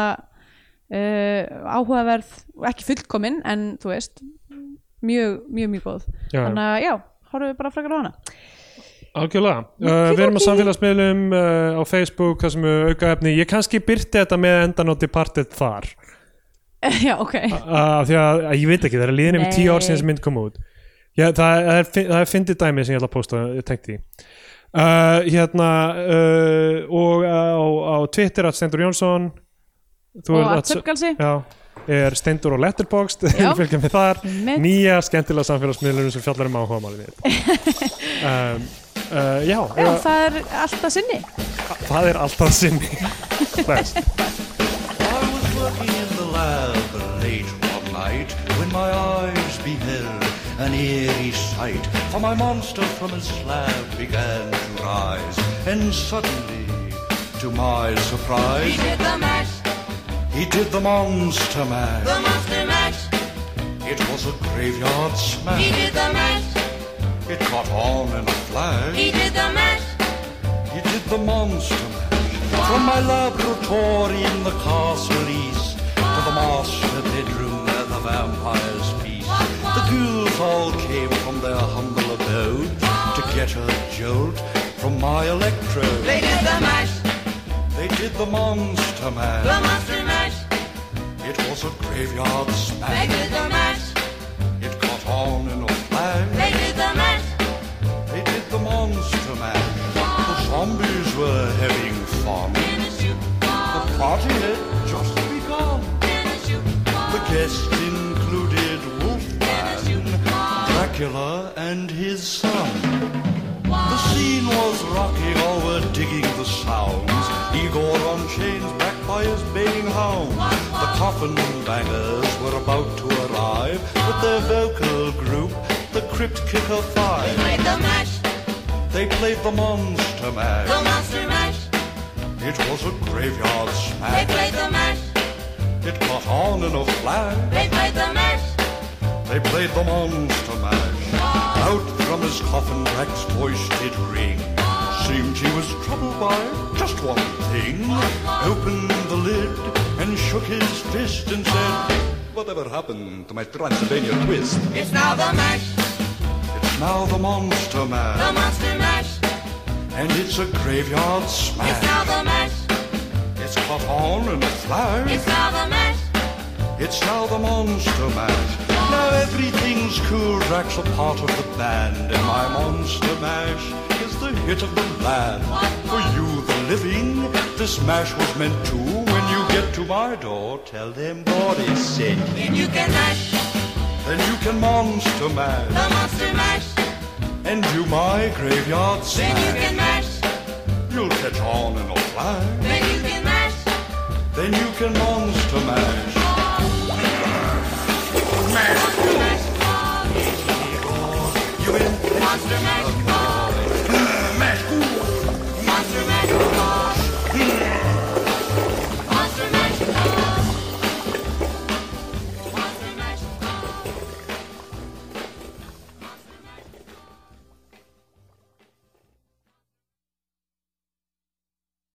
uh, áhugaverð, ekki fullkomin en þú veist mjög, mjög, mjög góð Já. þannig að já, horfum við bara frekar á hana Algjörlega, uh, við erum á samfélagsmiðlum uh, á Facebook, það sem er aukaefni ég kannski byrti þetta með endan á Departed þar, já, ok, af því að, að ég veit ekki það er liðin yfir Nei. tíu ár síðan sem mynd kom út Já, það, er, það er fyndið dæmi sem ég ætla að posta tengt í uh, hérna uh, og á, á Twitter að Stendur Jónsson þú og ert að söpgalsi já, er Stendur og Letterboxd Já. fylgja með þar Einmitt. nýja skemmtilega samfélagsmiðlunum sem fjallar um áhuga málið um, uh, já, já, uh, það er alltaf sinni það er alltaf sinni Bless. I was working in the lab late one night when my eyes beheld an eerie sight. For my monster from his slab began to rise, and suddenly, to my surprise, did the mash, he did the monster mash. the monster mash. It was a graveyard He smash. did the mash, It caught on in a flash. he did the mash. He did the monster mash. From my laboratory in the castle east to the master bedroom where the vampires feast. The fools all came from their humble abode to get a jolt from my electrode. They did the mash, They did the monster the man. monster mash. It was a graveyard They smash. did the mash, It caught on in a flash. they did the mash. They did the monster man. The zombies were having fun. In a shoe ball, The party had just begun. in a shoe The ball, guests included shoot Wolfman, Dracula, and his son. The scene was rocking, all were digging the sounds. Igor on chains, backed by his baying hounds. The coffin bangers were about to arrive with their vocal group, the Crypt Kicker Five. played the mash, They played the Monster the Mash. monster mash. It was a graveyard They smash. played the mash, It caught on in a flash. they played the mash. They played the monster mash. Out from his coffin, Rex's voice did ring. Seemed he was troubled by just one thing. Opened the lid and shook his fist and said, Whatever happened to my Transylvania twist? It's now the mash, It's now the monster the mash, monster mash. and it's a graveyard It's now smash. the mash, It's caught on in a flash. it's now the mash. It's now the monster mash. Now everything's cool. Rack's a part of the band, and my monster mash is the hit of the land. For you, the living, this mash was meant to. When you get to my door, tell them what is said. If you can mash, Then you can monster mash the monster mash. and do my graveyard Then you smash. can mash, You'll catch on in a flash. then you can mash. Then you can monster mash. Monster mash, You in monster mash.